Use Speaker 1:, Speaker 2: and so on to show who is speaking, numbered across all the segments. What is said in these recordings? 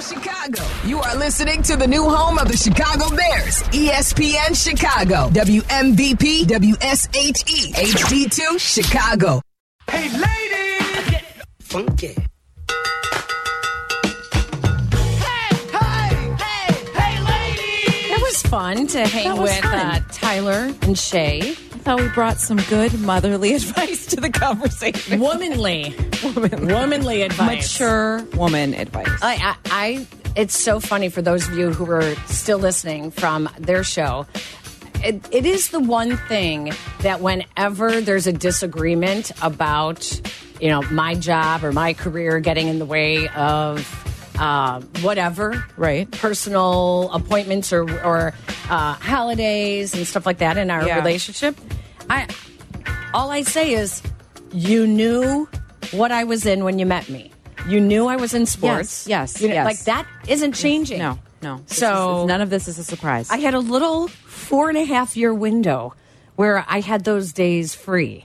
Speaker 1: Chicago. You are listening to the new home of the Chicago Bears, E ESPN Chicago, WMVP, WSHE, HD2, Chicago.
Speaker 2: Hey, ladies! Get funky.
Speaker 3: It was fun to hang
Speaker 4: That was
Speaker 3: with
Speaker 4: fun.
Speaker 3: Uh, Tyler and Shay. I thought we brought some good motherly advice to the conversation.
Speaker 4: womanly, womanly advice.
Speaker 3: Mature.
Speaker 5: woman advice.
Speaker 4: I, I, I, it's so funny for those of you who are still listening from their show. It, it is the one thing that whenever there's a disagreement about, you know, my job or my career getting in the way of uh, whatever,
Speaker 5: Right.
Speaker 4: Personal appointments or or uh, holidays and stuff like that in our
Speaker 5: Yeah.
Speaker 4: relationship. I all I say is, you knew what I was in when you met me. You knew I was in sports.
Speaker 5: Yes, yes,
Speaker 4: You know,
Speaker 5: yes.
Speaker 4: Like that isn't changing.
Speaker 5: No, no. This
Speaker 4: So-
Speaker 5: is- none of this is a surprise.
Speaker 4: I had a little four and a half year window where I had those days free.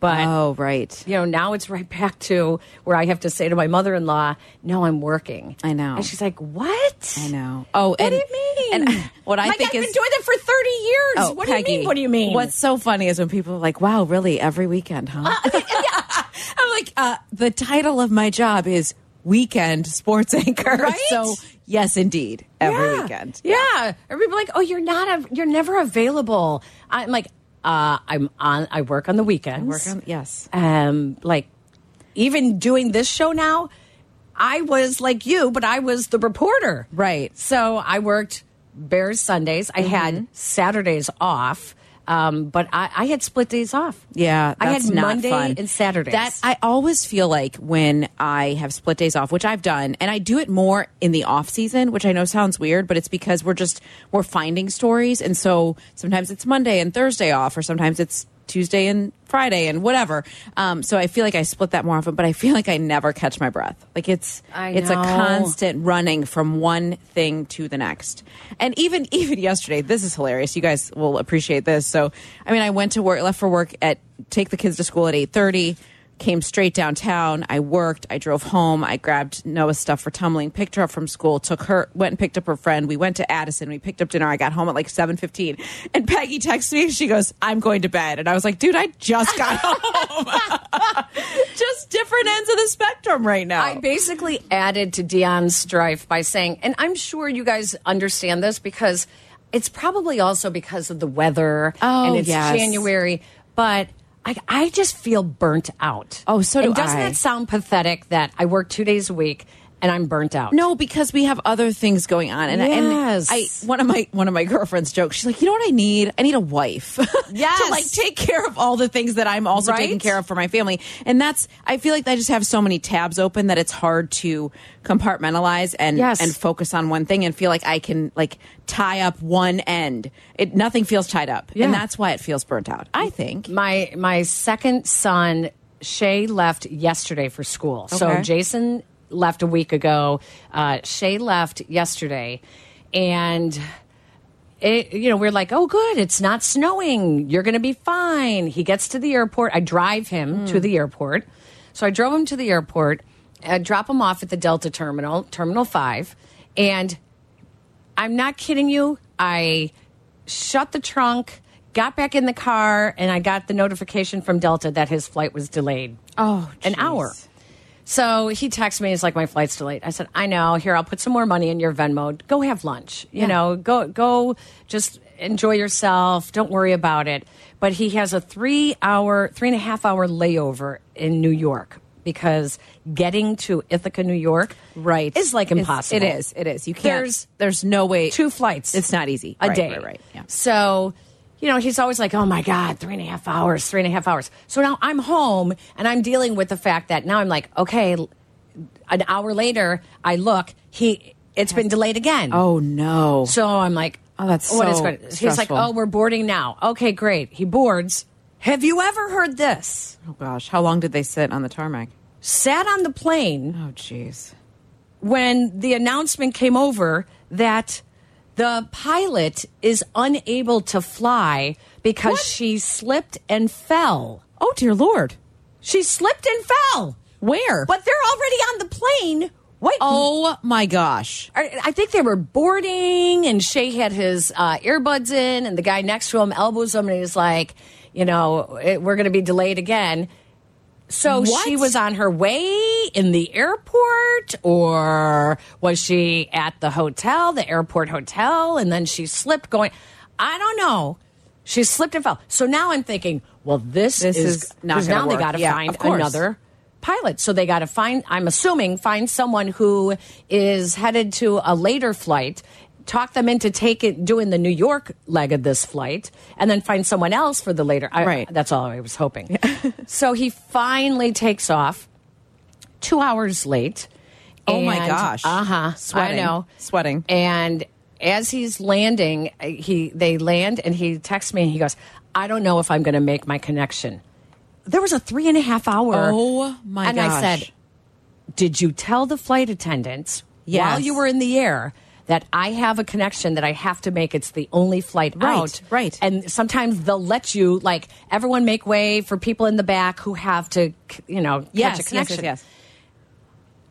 Speaker 4: But
Speaker 5: oh, right.
Speaker 4: you know, now it's right back to where I have to say to my mother in law, No, I'm working.
Speaker 5: I know.
Speaker 4: And she's like, What?
Speaker 5: I know. Oh,
Speaker 4: What
Speaker 5: and,
Speaker 4: do you mean?
Speaker 5: And what I
Speaker 4: like,
Speaker 5: think
Speaker 4: I've
Speaker 5: is
Speaker 4: been doing it for thirty years.
Speaker 5: Oh,
Speaker 4: what do you
Speaker 5: Peggy,
Speaker 4: mean? What do you mean?
Speaker 5: What's so funny is when people are like, "Wow, really? Every weekend, huh?"
Speaker 4: Uh,
Speaker 5: I'm like, uh, the title of my job is weekend sports anchor.
Speaker 4: Right?
Speaker 5: So yes, indeed, every
Speaker 4: Yeah.
Speaker 5: weekend.
Speaker 4: Yeah. Or people are like, oh, you're not, a, you're never available. I'm like, uh, I'm on, I work on the weekends.
Speaker 5: Work on- yes.
Speaker 4: Um, like, even doing this show now, I was like you, but I was the reporter.
Speaker 5: Right. Mm-hmm.
Speaker 4: So I worked Bears Sundays. I had Saturdays off. Um, but I, I had split days off.
Speaker 5: Yeah,
Speaker 4: I
Speaker 5: that's
Speaker 4: had
Speaker 5: not
Speaker 4: Monday
Speaker 5: fun.
Speaker 4: and Saturdays.
Speaker 5: That I always feel like when I have split days off, which I've done, and I do it more in the off season, which I know sounds weird, but it's because we're just we're finding stories, and so sometimes it's Monday and Thursday off, or sometimes it's Tuesday and Friday and whatever. Um, so I feel like I split that more often, but I feel like I never catch my breath. Like it's
Speaker 4: I
Speaker 5: it's a
Speaker 4: know.
Speaker 5: constant running from one thing to the next. And even even yesterday, this is hilarious. You guys will appreciate this. So, I mean, I went to work, left for work at take the kids to school at eight thirty. Came straight downtown. I worked. I drove home. I grabbed Noah's stuff for tumbling. Picked her up from school. Took her. Went and picked up her friend. We went to Addison. We picked up dinner. I got home at like seven fifteen. And Peggy texts me. She goes, "I'm going to bed." And I was like, "Dude, I just got home." just different ends of the spectrum right now.
Speaker 4: I basically added to Dion's strife by saying, and I'm sure you guys understand this because it's probably also because of the weather
Speaker 5: Oh,
Speaker 4: and it's
Speaker 5: yes.
Speaker 4: January, but I, I just feel burnt out.
Speaker 5: Oh, so do
Speaker 4: and doesn't
Speaker 5: I.
Speaker 4: that sound pathetic that I work two days a week and I'm burnt out?
Speaker 5: No, because we have other things going on. And,
Speaker 4: Yes.
Speaker 5: and I one of my one of my girlfriends jokes, she's like, you know what I need? I need a wife.
Speaker 4: Yes.
Speaker 5: to like take care of all the things that I'm also
Speaker 4: Right?
Speaker 5: taking care of for my family. And that's I feel like I just have so many tabs open that it's hard to compartmentalize and
Speaker 4: Yes.
Speaker 5: and focus on one thing and feel like I can like tie up one end. It nothing feels tied up.
Speaker 4: Yeah.
Speaker 5: And that's why it feels burnt out, I think.
Speaker 4: My my second son Shay left yesterday for school. So
Speaker 5: Okay.
Speaker 4: Jason left a week ago. Uh, Shay left yesterday, and it, you know we're like, oh good, it's not snowing. You're going to be fine. He gets to the airport. I drive him to the airport. So I drove him to the airport. I drop him off at the Delta terminal, Terminal Five, and I'm not kidding you. I shut the trunk, got back in the car, and I got the notification from Delta that his flight was delayed.
Speaker 5: Oh,
Speaker 4: an
Speaker 5: jeez.
Speaker 4: hour. So he texts me. He's like, "My flight's delayed." I said, "I know. Here, I'll put some more money in your Venmo. Go have lunch. You know, go go, just enjoy yourself. Don't worry about it." But he has a three-hour, three and a half hour layover in New York because getting to Ithaca, New York,
Speaker 5: Right.
Speaker 4: is like
Speaker 5: It's-
Speaker 4: impossible.
Speaker 5: It is. It is. You can't
Speaker 4: There's
Speaker 5: there's there's no way
Speaker 4: two flights.
Speaker 5: It's not easy.
Speaker 4: A
Speaker 5: Right,
Speaker 4: day.
Speaker 5: Right, right. Yeah.
Speaker 4: So, you know, he's always like, oh my God, three and a half hours, three and a half hours. So now I'm home and I'm dealing with the fact that now I'm like, okay, l- an hour later, I look, he, it's been delayed again.
Speaker 5: Oh no.
Speaker 4: So I'm like,
Speaker 5: Oh, that's
Speaker 4: is
Speaker 5: so
Speaker 4: going- He's like,
Speaker 5: stressful.
Speaker 4: oh, we're boarding now. Okay, great. He boards. Have you ever heard this?
Speaker 5: Oh gosh, how long did they sit on the tarmac?
Speaker 4: Sat on the plane.
Speaker 5: Oh jeez.
Speaker 4: when the announcement came over that the pilot is unable to fly because she slipped and fell.
Speaker 5: Oh dear lord.
Speaker 4: She slipped and fell.
Speaker 5: Where?
Speaker 4: But they're already on the plane
Speaker 5: What? Oh my gosh.
Speaker 4: I I think they were boarding, and Shay had his uh, earbuds in, and the guy next to him elbows him, and he's like, "You know, it, we're going to be delayed again." So
Speaker 5: What?
Speaker 4: she was on her way in the airport, or was she at the hotel, the airport hotel, and then she slipped going? I don't know. She slipped and fell. So now I'm thinking, well, this,
Speaker 5: This
Speaker 4: is,
Speaker 5: is not
Speaker 4: 'cause
Speaker 5: gonna
Speaker 4: now
Speaker 5: work.
Speaker 4: they got to
Speaker 5: Yeah,
Speaker 4: find
Speaker 5: of course.
Speaker 4: another pilot. So they got to find, I'm assuming, find someone who is headed to a later flight, talk them into taking doing the New York leg of this flight, and then find someone else for the later. I,
Speaker 5: Right.
Speaker 4: That's all I was hoping. so he finally takes off two hours late.
Speaker 5: Oh my gosh.
Speaker 4: Uh huh.
Speaker 5: Sweating.
Speaker 4: I know.
Speaker 5: Sweating.
Speaker 4: And as he's landing, he they land and he texts me and he goes, "I don't know if I'm going to make my connection." There was a three and a half hour.
Speaker 5: Oh my
Speaker 4: And
Speaker 5: gosh.
Speaker 4: I said, "Did you tell the flight attendants while
Speaker 5: Yes.
Speaker 4: you were in the air?" That I have a connection that I have to make. It's the only flight
Speaker 5: Right,
Speaker 4: out.
Speaker 5: right.
Speaker 4: And sometimes they'll let you, like, everyone make way for people in the back who have to, you know,
Speaker 5: Yes, yes,
Speaker 4: catch a
Speaker 5: yes,
Speaker 4: connection.
Speaker 5: yes.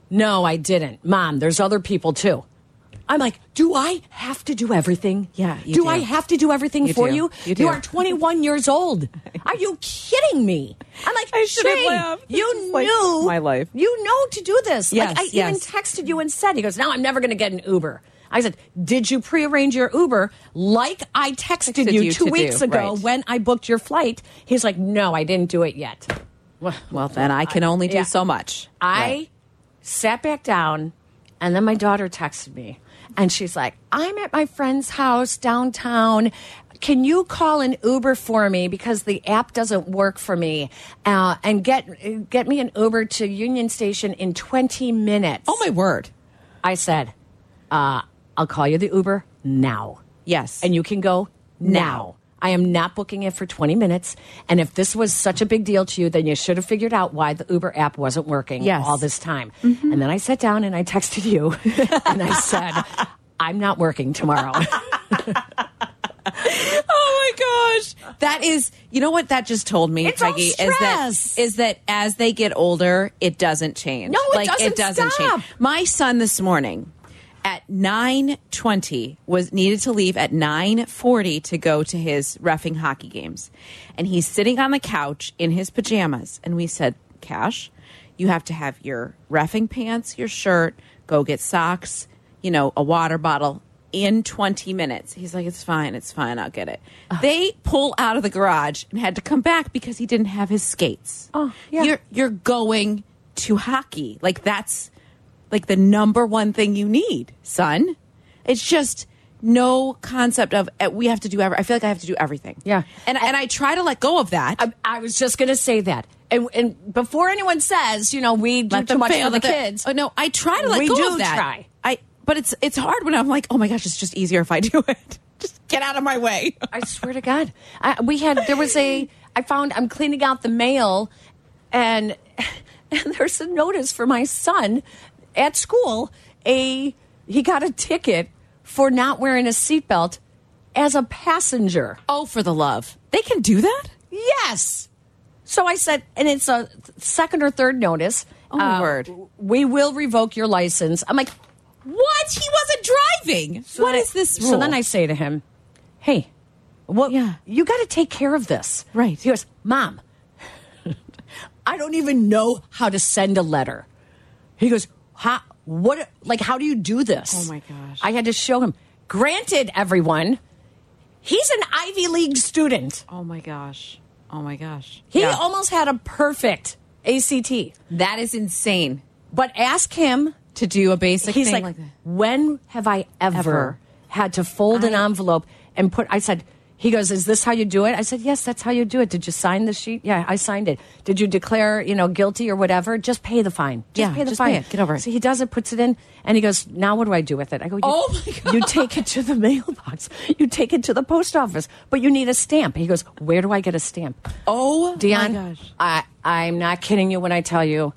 Speaker 4: No, I didn't. Mom, there's other people too. I'm like, do I have to do everything?
Speaker 5: Yeah, you
Speaker 4: do,
Speaker 5: do.
Speaker 4: I have to do everything
Speaker 5: You
Speaker 4: for
Speaker 5: do.
Speaker 4: you?
Speaker 5: You do.
Speaker 4: are 21 years old. Are you kidding me? I'm like,
Speaker 5: I should have
Speaker 4: Shane,
Speaker 5: laughed. This
Speaker 4: You
Speaker 5: is like
Speaker 4: knew
Speaker 5: my life.
Speaker 4: You know to do this.
Speaker 5: Yes,
Speaker 4: like I even
Speaker 5: yes.
Speaker 4: texted you and said, he goes, no, I'm never going to get an Uber. I said, did you prearrange your Uber like I texted,
Speaker 5: Texted
Speaker 4: you,
Speaker 5: you to
Speaker 4: two
Speaker 5: do,
Speaker 4: weeks ago
Speaker 5: right.
Speaker 4: when I booked your flight? He's like, no, I didn't do it yet.
Speaker 5: Well, then I can only do
Speaker 4: yeah.
Speaker 5: so much.
Speaker 4: I
Speaker 5: Right.
Speaker 4: sat back down, and then my daughter texted me, and she's like, "I'm at my friend's house downtown. Can you call an Uber for me because the app doesn't work for me, uh, and get get me an Uber to Union Station in 20 minutes?"
Speaker 5: Oh my word.
Speaker 4: I said, uh, "I'll call you the Uber now."
Speaker 5: Yes.
Speaker 4: and you can go now. I am not booking it for 20 minutes. And if this was such a big deal to you, then you should have figured out why the Uber app wasn't working
Speaker 5: Yes.
Speaker 4: all this time. And then I sat down and I texted you and I said, I'm not working tomorrow.
Speaker 5: Oh my gosh. That is, you know what that just told me,
Speaker 4: It's all
Speaker 5: Peggy, is that
Speaker 4: stress.
Speaker 5: is that as they get older, it doesn't change.
Speaker 4: No, it
Speaker 5: like
Speaker 4: doesn't
Speaker 5: it doesn't
Speaker 4: stop.
Speaker 5: change. My son this morning at 9:20 was needed to leave at 9:40 to go to his refing hockey games. And he's sitting on the couch in his pajamas and we said, "Cash, you have to have your refing pants, your shirt, go get socks, you know, a water bottle in 20 minutes. He's like, it's fine, it's fine, I'll get it. They pull out of the garage and had to come back because he didn't have his skates.
Speaker 4: Oh, yeah.
Speaker 5: You're, you're going to hockey. Like, that's like the number one thing you need, son. It's just no concept of uh, we have to do every. I feel like I have to do everything.
Speaker 4: Yeah.
Speaker 5: And, and I try to let go of that.
Speaker 4: I, I was just going to say that. And, and before anyone says, you know, we do
Speaker 5: Not
Speaker 4: too much for the kids,
Speaker 5: Oh, no, I try to let
Speaker 4: We
Speaker 5: go
Speaker 4: do
Speaker 5: of that.
Speaker 4: try.
Speaker 5: I, but it's it's hard when I'm like, oh my gosh, it's just easier if I do it. just get out of my way.
Speaker 4: I swear to God, I, we had there was a. I found I'm cleaning out the mail, and and there's a notice for my son at school. A he got a ticket for not wearing a seatbelt as a passenger.
Speaker 5: Oh, for the love, they can do that.
Speaker 4: Yes. So I said, and it's a second or third notice. uh,
Speaker 5: Oh, my word.
Speaker 4: We will revoke your license. I'm like, what? He wasn't
Speaker 5: Driving. What is
Speaker 4: What is
Speaker 5: this?
Speaker 4: So
Speaker 5: rule?
Speaker 4: then I say to him, "Hey, what?
Speaker 5: Yeah.
Speaker 4: you got to take care of this,
Speaker 5: Right.
Speaker 4: He goes, "Mom, I don't even know how to send a letter." He goes, "How? What? Like, how do you do this?"
Speaker 5: Oh, my gosh.
Speaker 4: I had to show him. Granted, everyone, he's an Ivy League student.
Speaker 5: Oh my gosh. Oh my gosh.
Speaker 4: He
Speaker 5: Yeah.
Speaker 4: almost had a perfect ACT,
Speaker 5: that is insane
Speaker 4: but ask him
Speaker 5: to do a basic
Speaker 4: he's
Speaker 5: thing
Speaker 4: like,
Speaker 5: like, that.
Speaker 4: when have I ever,
Speaker 5: Ever.
Speaker 4: had to fold an
Speaker 5: I-
Speaker 4: envelope and put? I said, he goes, is this how you do it? I said, yes, that's how you do it. Did you sign the sheet? Yeah, I signed it. Did you declare, you know, guilty or whatever? Just pay the fine. Just
Speaker 5: Yeah,
Speaker 4: pay the
Speaker 5: just
Speaker 4: fine.
Speaker 5: pay it. Get over it.
Speaker 4: So he does it, puts it in, and he goes, now what do I do with it? I go, you,
Speaker 5: Oh my God.
Speaker 4: you take it to the mailbox, you take it to the post office, but you need a stamp. He goes, where do I get a stamp?
Speaker 5: Oh,
Speaker 4: Dion,
Speaker 5: my gosh.
Speaker 4: I I'm not kidding you when I tell you,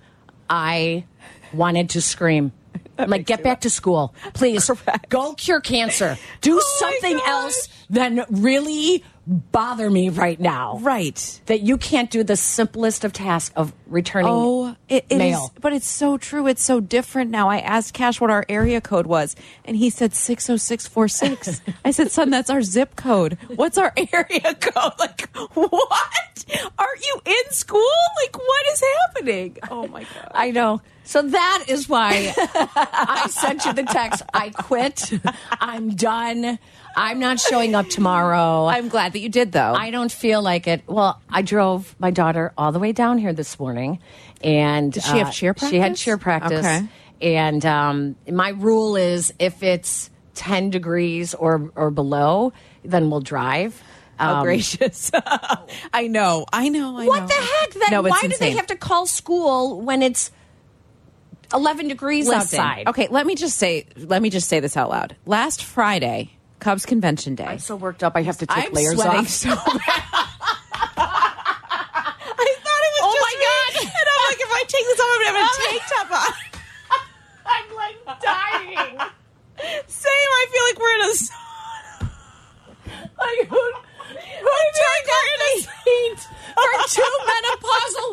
Speaker 4: I wanted to scream. I'm like, get back to school, please. Go cure cancer. Do
Speaker 5: Oh my
Speaker 4: something
Speaker 5: gosh.
Speaker 4: else than really bother me right now.
Speaker 5: Right.
Speaker 4: That you can't do the simplest of tasks of returning
Speaker 5: Oh It, it is-
Speaker 4: Male.
Speaker 5: but it's so true. It's so different now. I asked Cash what our area code was, and he said 60646. I said, son, that's our zip code. What's our area code? Like, what? Aren't you in school? Like, what is happening? Oh, my God.
Speaker 4: I know. So that is why I sent you the text. I quit. I'm done. I'm not showing up tomorrow.
Speaker 5: I'm glad that you did, though.
Speaker 4: I don't feel like it. Well, I drove my daughter all the way down here this morning, and did
Speaker 5: she have cheer
Speaker 4: She had
Speaker 5: practice?
Speaker 4: cheer practice.
Speaker 5: Okay.
Speaker 4: And um, my rule is if it's ten degrees or or below, then we'll drive.
Speaker 5: How
Speaker 4: Um,
Speaker 5: gracious. I know. I know. I
Speaker 4: What
Speaker 5: know.
Speaker 4: the heck? Then
Speaker 5: No, it's
Speaker 4: why do they
Speaker 5: insane.
Speaker 4: have to call school when it's eleven degrees
Speaker 5: Listen,
Speaker 4: outside?
Speaker 5: Okay, let me just say let me just say this out loud. Last Friday, Cubs convention day.
Speaker 4: I'm so worked up. I have to take
Speaker 5: I'm
Speaker 4: layers
Speaker 5: sweating
Speaker 4: off.
Speaker 5: so bad. I thought it was Oh my god. And I'm like if I take this off I'm gonna have a tank top on.
Speaker 4: I'm like dying.
Speaker 5: Same, I feel like we're in a s-
Speaker 4: like who, who turned on the heat for two menopausal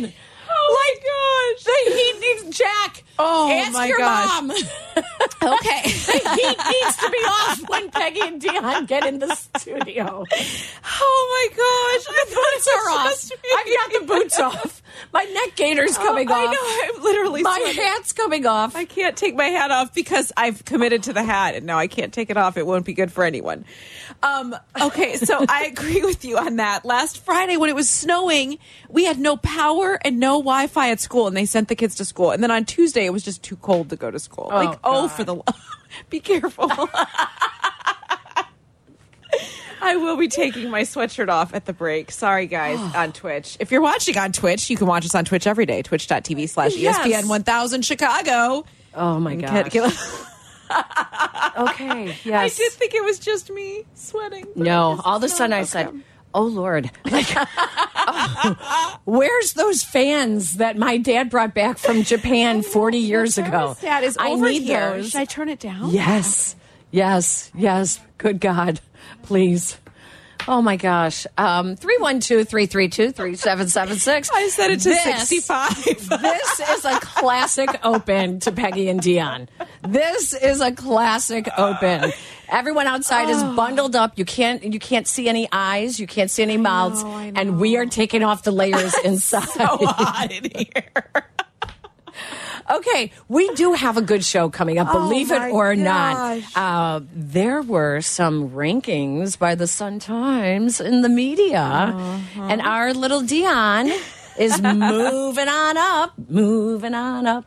Speaker 4: women? Oh like, my gosh! The heat needs Jack.
Speaker 5: Oh
Speaker 4: Ask
Speaker 5: my
Speaker 4: your
Speaker 5: gosh.
Speaker 4: mom.
Speaker 5: Okay.
Speaker 4: the heat needs to be off when Peggy and Dion get in the studio.
Speaker 5: oh my gosh. I thought
Speaker 4: Boots are off. I've got the boots off. My neck gaiters coming
Speaker 5: I
Speaker 4: off.
Speaker 5: know, I'm literally
Speaker 4: My
Speaker 5: sweating.
Speaker 4: hat's coming off.
Speaker 5: I can't take my hat off because I've committed to the hat and now I can't take it off. It won't be good for anyone. Um, okay, so I agree with you on that. Last Friday, when it was snowing, we had no power and no Wi Fi at school, and they sent the kids to school. And then on Tuesday, it was just too cold to go to school. like, oh, for the love. Be careful. I will be taking my sweatshirt off at the break. Sorry, guys, on Twitch. If you're watching on Twitch, you can watch us on Twitch every day. Twitch.tv slash E
Speaker 4: Yes.
Speaker 5: ESPN 1000 Chicago.
Speaker 4: Oh my
Speaker 5: Cat-
Speaker 4: god.
Speaker 5: kill-
Speaker 4: Okay.
Speaker 5: I
Speaker 4: Yes.
Speaker 5: did think it was just me sweating. but it
Speaker 4: No,
Speaker 5: is
Speaker 4: all of a
Speaker 5: not.
Speaker 4: sudden I
Speaker 5: Okay.
Speaker 4: said, "Oh Lord, like, oh, where's those fans that my dad brought back from Japan forty years ago?
Speaker 5: Thermostat is
Speaker 4: I
Speaker 5: over
Speaker 4: need
Speaker 5: here.
Speaker 4: those.
Speaker 5: Should I turn it down?
Speaker 4: Yes, yes, yes. Good God, please." Oh my gosh. Um 312-332-3776.
Speaker 5: I set it to
Speaker 4: This-
Speaker 5: 65.
Speaker 4: this is a classic open to Peggy and Dion. This is a classic open. Everyone outside is
Speaker 5: Oh.
Speaker 4: bundled up. You can't you can't see any eyes, you can't see any mouths,
Speaker 5: know, I
Speaker 4: and we are taking off the layers inside.
Speaker 5: hot in here.
Speaker 4: Okay, we do have a good show coming up, believe
Speaker 5: Oh my
Speaker 4: it or
Speaker 5: gosh.
Speaker 4: not. Uh, there were some rankings by the Sun Times in the media,
Speaker 5: Uh-huh.
Speaker 4: and our little Dion is moving on up, moving on up.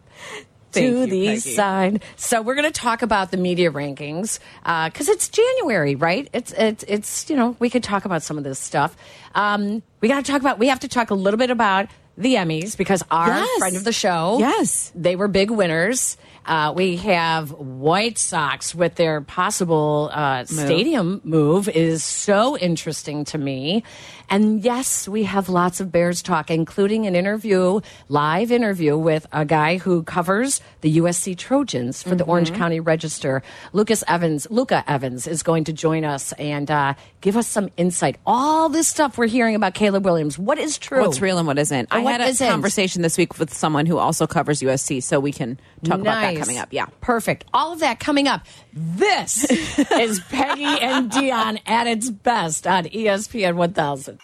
Speaker 5: Thank
Speaker 4: to
Speaker 5: you,
Speaker 4: the east
Speaker 5: Peggy.
Speaker 4: side. So we're going to talk about the media rankings because it's January, right? It's it's it's you know we could talk about some of this stuff. Um, we got to talk about. We have to talk a little bit about the Emmys because our
Speaker 5: Yes.
Speaker 4: friend of the show,
Speaker 5: Yes.
Speaker 4: they were big winners. Uh, we have White Sox with their possible uh, stadium move is so interesting to me. And yes, we have lots of Bears talk, including an interview, live interview with a guy who covers the USC Trojans for the
Speaker 5: Mm-hmm.
Speaker 4: Orange County Register. Lucas Evans, Luca Evans, is going to join us and uh, give us some insight. All this stuff we're hearing about Caleb Williams. What is true?
Speaker 5: What's real and what isn't? I
Speaker 4: And what
Speaker 5: had a
Speaker 4: isn't?
Speaker 5: conversation this week with someone who also covers USC, so we can talk about that
Speaker 4: Nice.
Speaker 5: coming up. Yeah.
Speaker 4: Perfect. All of that coming up. This is Peggy and Dion at its best on E ESPN 1000.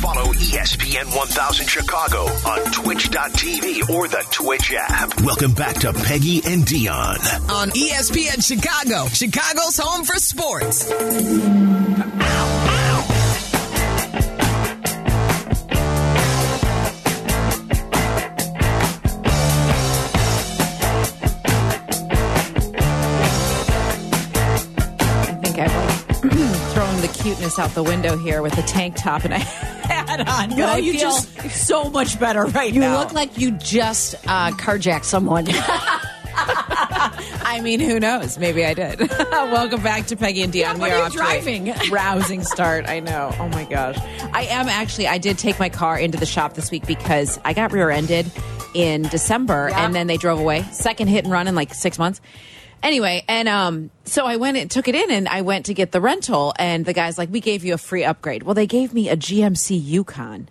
Speaker 6: Follow E ESPN 1000 Chicago on twitch.tv or the Twitch app. Welcome back to Peggy and Dion.
Speaker 1: On E ESPN Chicago, Chicago's home for sports.
Speaker 5: I think I was throwing the cuteness out the window here with a tank top and a hat on. but
Speaker 4: No,
Speaker 5: I
Speaker 4: you
Speaker 5: feel
Speaker 4: just-
Speaker 5: so much better right
Speaker 4: You
Speaker 5: now.
Speaker 4: look like you just uh, carjacked someone.
Speaker 5: I mean, who knows? Maybe I did. Welcome back to Peggy and Dion.
Speaker 4: Yeah, what
Speaker 5: We
Speaker 4: are you
Speaker 5: off to
Speaker 4: driving?
Speaker 5: a rousing start. I know. Oh my gosh. I am actually. I did take my car into the shop this week because I got rear-ended in December,
Speaker 4: Yeah.
Speaker 5: and then they drove away. Second hit and run in like six months. Anyway, and um, so I went and took it in, and I went to get the rental, and the guy's like, "We gave you a free upgrade." Well, they gave me a GMC Yukon.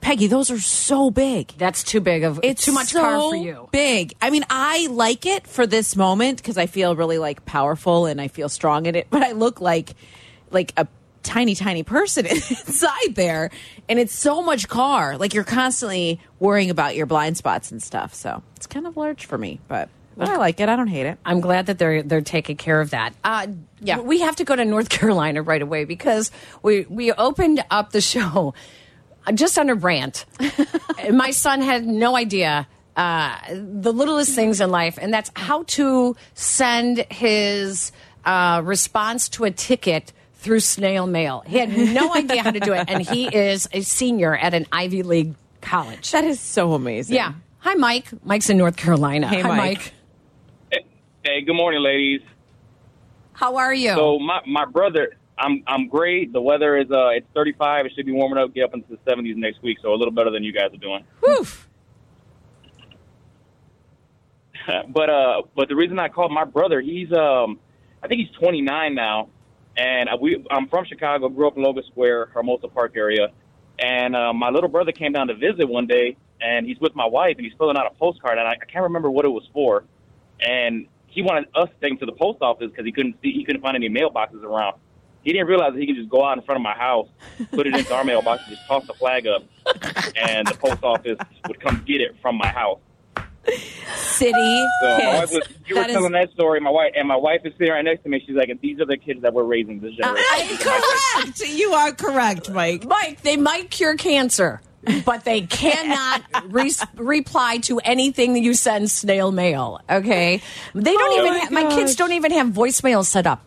Speaker 5: Peggy, those are so big.
Speaker 4: That's too big of it's too much car for
Speaker 5: so
Speaker 4: you.
Speaker 5: Big. I mean, I like it for this moment because I feel really like powerful and I feel strong in it. But I look like like a tiny, tiny person inside there, and it's so much car. Like you're constantly worrying about your blind spots and stuff. So it's kind of large for me, but. But I like it. I don't hate it.
Speaker 4: I'm glad that they're they're taking care of that. Uh,
Speaker 5: Yeah.
Speaker 4: we have to go to North Carolina right away because we we opened up the show just under Brant. My son had no idea uh, the littlest things in life, and that's how to send his uh, response to a ticket through snail mail. He had no idea how to do it, and he is a senior at an Ivy League college.
Speaker 5: That is so amazing.
Speaker 4: Yeah. Hi, Mike. Mike's in North Carolina.
Speaker 5: Hey,
Speaker 4: Hi,
Speaker 5: Mike.
Speaker 7: Hey, good morning, ladies.
Speaker 4: How are you?
Speaker 7: So my my brother, I'm I'm great. The weather is uh it's 35. It should be warming up, get up into the 70s next week, so a little better than you guys are doing.
Speaker 4: Woof.
Speaker 7: but uh, but the reason I called my brother, he's um, I think he's 29 now, and I- we I'm from Chicago, grew up in Logan Square, Hermosa Park area, and uh, my little brother came down to visit one day, and he's with my wife, and he's filling out a postcard, and I, I can't remember what it was for, and he wanted us to take him to the post office because he couldn't see he couldn't find any mailboxes around. He didn't realize that he could just go out in front of my house, put it into our mailbox, and just toss the flag up, and the post office would come get it from my house.
Speaker 5: City
Speaker 7: So my wife
Speaker 5: kids.
Speaker 7: was, you
Speaker 5: That
Speaker 7: were
Speaker 5: is-
Speaker 7: telling that story. My wife and my wife is sitting right next to me. She's like, "These are the kids that we're raising this generation." These are my kids.
Speaker 5: correct. You are correct, Mike.
Speaker 4: Mike, they might cure cancer, but they cannot re- reply to anything that you send snail mail. Okay, they don't even. ha- Oh my kids don't even have voicemail set up.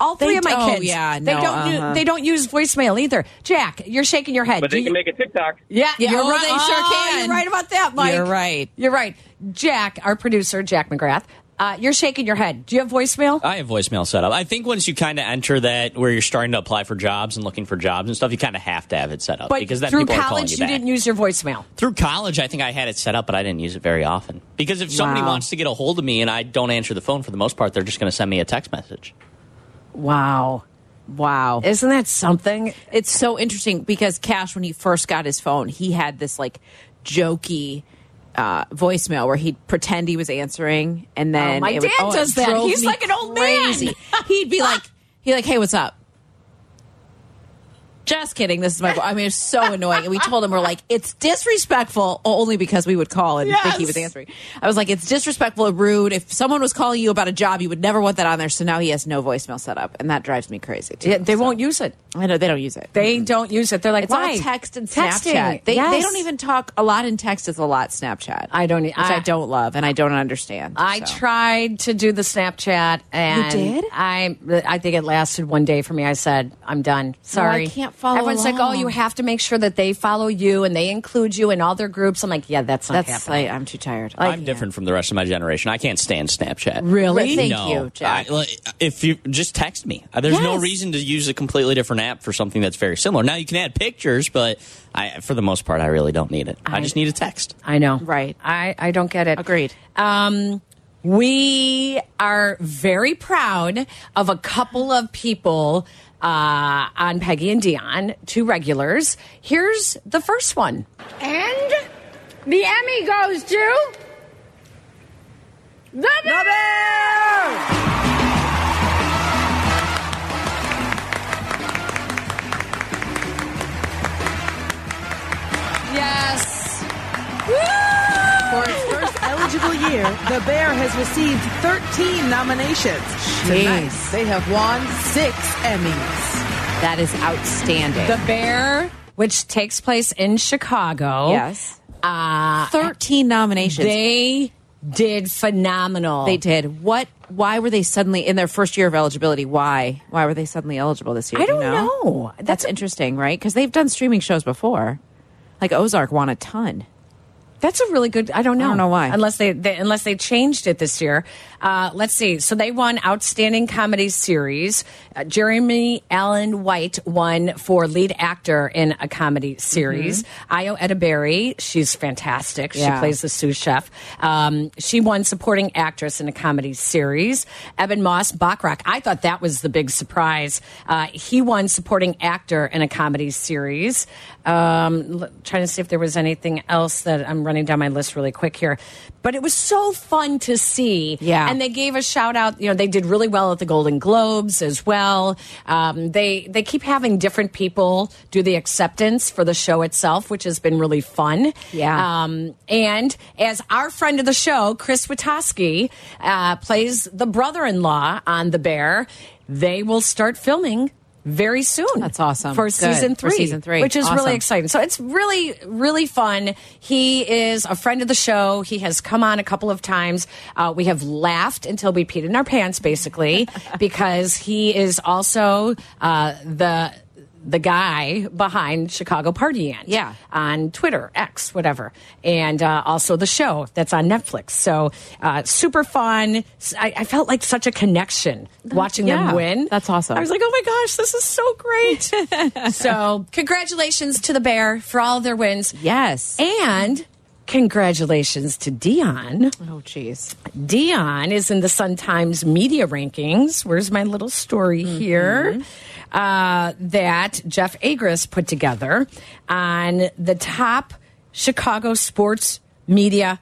Speaker 4: All three
Speaker 5: They
Speaker 4: of my
Speaker 5: don't-
Speaker 4: kids.
Speaker 5: yeah,
Speaker 4: they
Speaker 5: no,
Speaker 4: don't. u-
Speaker 5: uh-huh.
Speaker 4: They don't use voicemail either. Jack, you're shaking your head.
Speaker 7: But
Speaker 4: Do
Speaker 7: they
Speaker 4: you-
Speaker 7: can make a TikTok.
Speaker 4: yeah,
Speaker 5: Yeah,
Speaker 4: you're
Speaker 5: oh,
Speaker 4: right.
Speaker 5: they sure
Speaker 4: Oh,
Speaker 5: can.
Speaker 4: You're right about that, Mike.
Speaker 5: You're right.
Speaker 4: You're right. Jack, our producer, Jack McGrath. Uh, you're shaking your head. Do you have voicemail?
Speaker 8: I have voicemail set up. I think once you kind of enter that where you're starting to apply for jobs and looking for jobs and stuff, you kind of have to have it set up
Speaker 4: but
Speaker 8: because then
Speaker 4: through
Speaker 8: people are calling
Speaker 4: college,
Speaker 8: you,
Speaker 4: you
Speaker 8: back.
Speaker 4: didn't use your voicemail.
Speaker 8: through college, I think I had it set up, but I didn't use it very often because if somebody
Speaker 4: Wow.
Speaker 8: wants to get a hold of me and I don't answer the phone for the most part, they're just going to send me a text message.
Speaker 4: Wow.
Speaker 5: Wow.
Speaker 4: Oh, Isn't that something?
Speaker 5: It's so interesting because Cash, when he first got his phone, he had this like jokey uh, voicemail where he'd pretend he was answering, and then
Speaker 4: Oh, my
Speaker 5: it would-
Speaker 4: dad
Speaker 5: it
Speaker 4: does that.
Speaker 5: drove
Speaker 4: He's
Speaker 5: me
Speaker 4: like an old man.
Speaker 5: crazy. he'd be like, he like, hey, what's up? Just kidding. This is my. I mean, it's so annoying. And we told him we're like, it's disrespectful only because we would call and think he was
Speaker 4: Yes.
Speaker 5: answering. I was like, it's disrespectful and rude. If someone was calling you about a job, you would never want that on there. So now he has no voicemail set up, and that drives me crazy. Too.
Speaker 4: Yeah, they won't use it.
Speaker 5: I know they don't use it.
Speaker 4: They don't use it. They're like,
Speaker 5: Mm-hmm. It's
Speaker 4: why?
Speaker 5: all text and
Speaker 4: Texting.
Speaker 5: Snapchat. They, they
Speaker 4: Yes.
Speaker 5: don't even talk a lot in text. Is a lot Snapchat.
Speaker 4: I don't e-
Speaker 5: Which I,
Speaker 4: I-
Speaker 5: don't love, and I don't understand.
Speaker 4: I
Speaker 5: so.
Speaker 4: tried to do the Snapchat, and
Speaker 5: did?
Speaker 4: I I think it lasted one day for me. I said, I'm done. Sorry,
Speaker 5: can't follow
Speaker 4: Everyone's like, oh,
Speaker 5: along.
Speaker 4: you have to make sure that they follow you and they include you in all their groups. I'm like, yeah, that's not
Speaker 5: That's
Speaker 4: happening.
Speaker 5: like I'm too tired.
Speaker 8: I'm different from the rest of my generation. I can't stand Snapchat.
Speaker 5: Really? Thank
Speaker 8: no.
Speaker 5: you, Jack.
Speaker 8: I- like, if you just text me, Uh, there's no
Speaker 5: Yes.
Speaker 8: reason to use a completely different app for something that's very similar. Now you can add pictures, but I, for the most part, I really don't need it. I just need a text.
Speaker 4: I know.
Speaker 5: Right.
Speaker 4: I, I don't get it.
Speaker 5: Agreed.
Speaker 4: Um, we are very proud of a couple of people uh, on Peggy and Dion, two regulars. Here's the first one.
Speaker 9: And the Emmy goes to the
Speaker 4: Yes.
Speaker 10: For its first eligible year, The Bear has received 13 nominations. Tonight,
Speaker 5: Jeez.
Speaker 10: they have won six Emmys.
Speaker 5: That is outstanding.
Speaker 4: The Bear, which takes place in Chicago.
Speaker 5: yes,
Speaker 4: Uh,
Speaker 5: thirteen nominations.
Speaker 4: they did phenomenal.
Speaker 5: They did. What? Why were they suddenly in their first year of eligibility? Why? Why were they suddenly eligible this year?
Speaker 4: I
Speaker 5: Do you
Speaker 4: don't know.
Speaker 5: That's interesting, right? Because they've done streaming shows before. Like Ozark won a ton.
Speaker 4: That's a really good. I don't know.
Speaker 5: don't know why.
Speaker 4: Unless they, they unless they changed it this year. Uh, let's see. So they won Outstanding Comedy Series. Uh, Jeremy Allen White won for lead actor in a comedy series. Io Edaberry, she's fantastic. She
Speaker 5: Mm-hmm. Yeah.
Speaker 4: plays the sous chef. Um, she won supporting actress in a comedy series. Eben Moss Bachrach. I thought that was the big surprise. Uh, he won supporting actor in a comedy series. Um, l- trying to see if there was anything else that I'm running down my list really quick here. But it was so fun to see.
Speaker 5: Yeah.
Speaker 4: And they gave a shout out. You know, they did really well at the Golden Globes as well. Um, they they keep having different people do the acceptance for the show itself, which has been really fun.
Speaker 5: Yeah.
Speaker 4: Um, and as our friend of the show, Chris Witoski, uh, plays the brother-in-law on The Bear, they will start filming very soon.
Speaker 5: That's awesome.
Speaker 4: For
Speaker 5: Good.
Speaker 4: season
Speaker 5: For
Speaker 4: three.
Speaker 5: season three.
Speaker 4: Which is
Speaker 5: Awesome.
Speaker 4: really exciting. So it's really, really fun. He is a friend of the show. He has come on a couple of times. Uh, we have laughed until we peed in our pants, basically, because he is also uh, the the guy behind Chicago Party Ant
Speaker 5: Yeah.
Speaker 4: on Twitter, X, whatever, and uh, also the show that's on Netflix. So uh, super fun. S- I, I felt like such a connection watching
Speaker 5: Yeah.
Speaker 4: them win.
Speaker 5: That's awesome.
Speaker 4: I was like, oh my gosh, this is so great. so congratulations to the Bear for all their wins.
Speaker 5: Yes.
Speaker 4: And congratulations to Dion.
Speaker 5: oh, jeez.
Speaker 4: Dion is in the Sun Times media rankings. Where's my little story
Speaker 5: Mm-hmm.
Speaker 4: here? Uh, that Jeff Agris put together on the top Chicago sports media.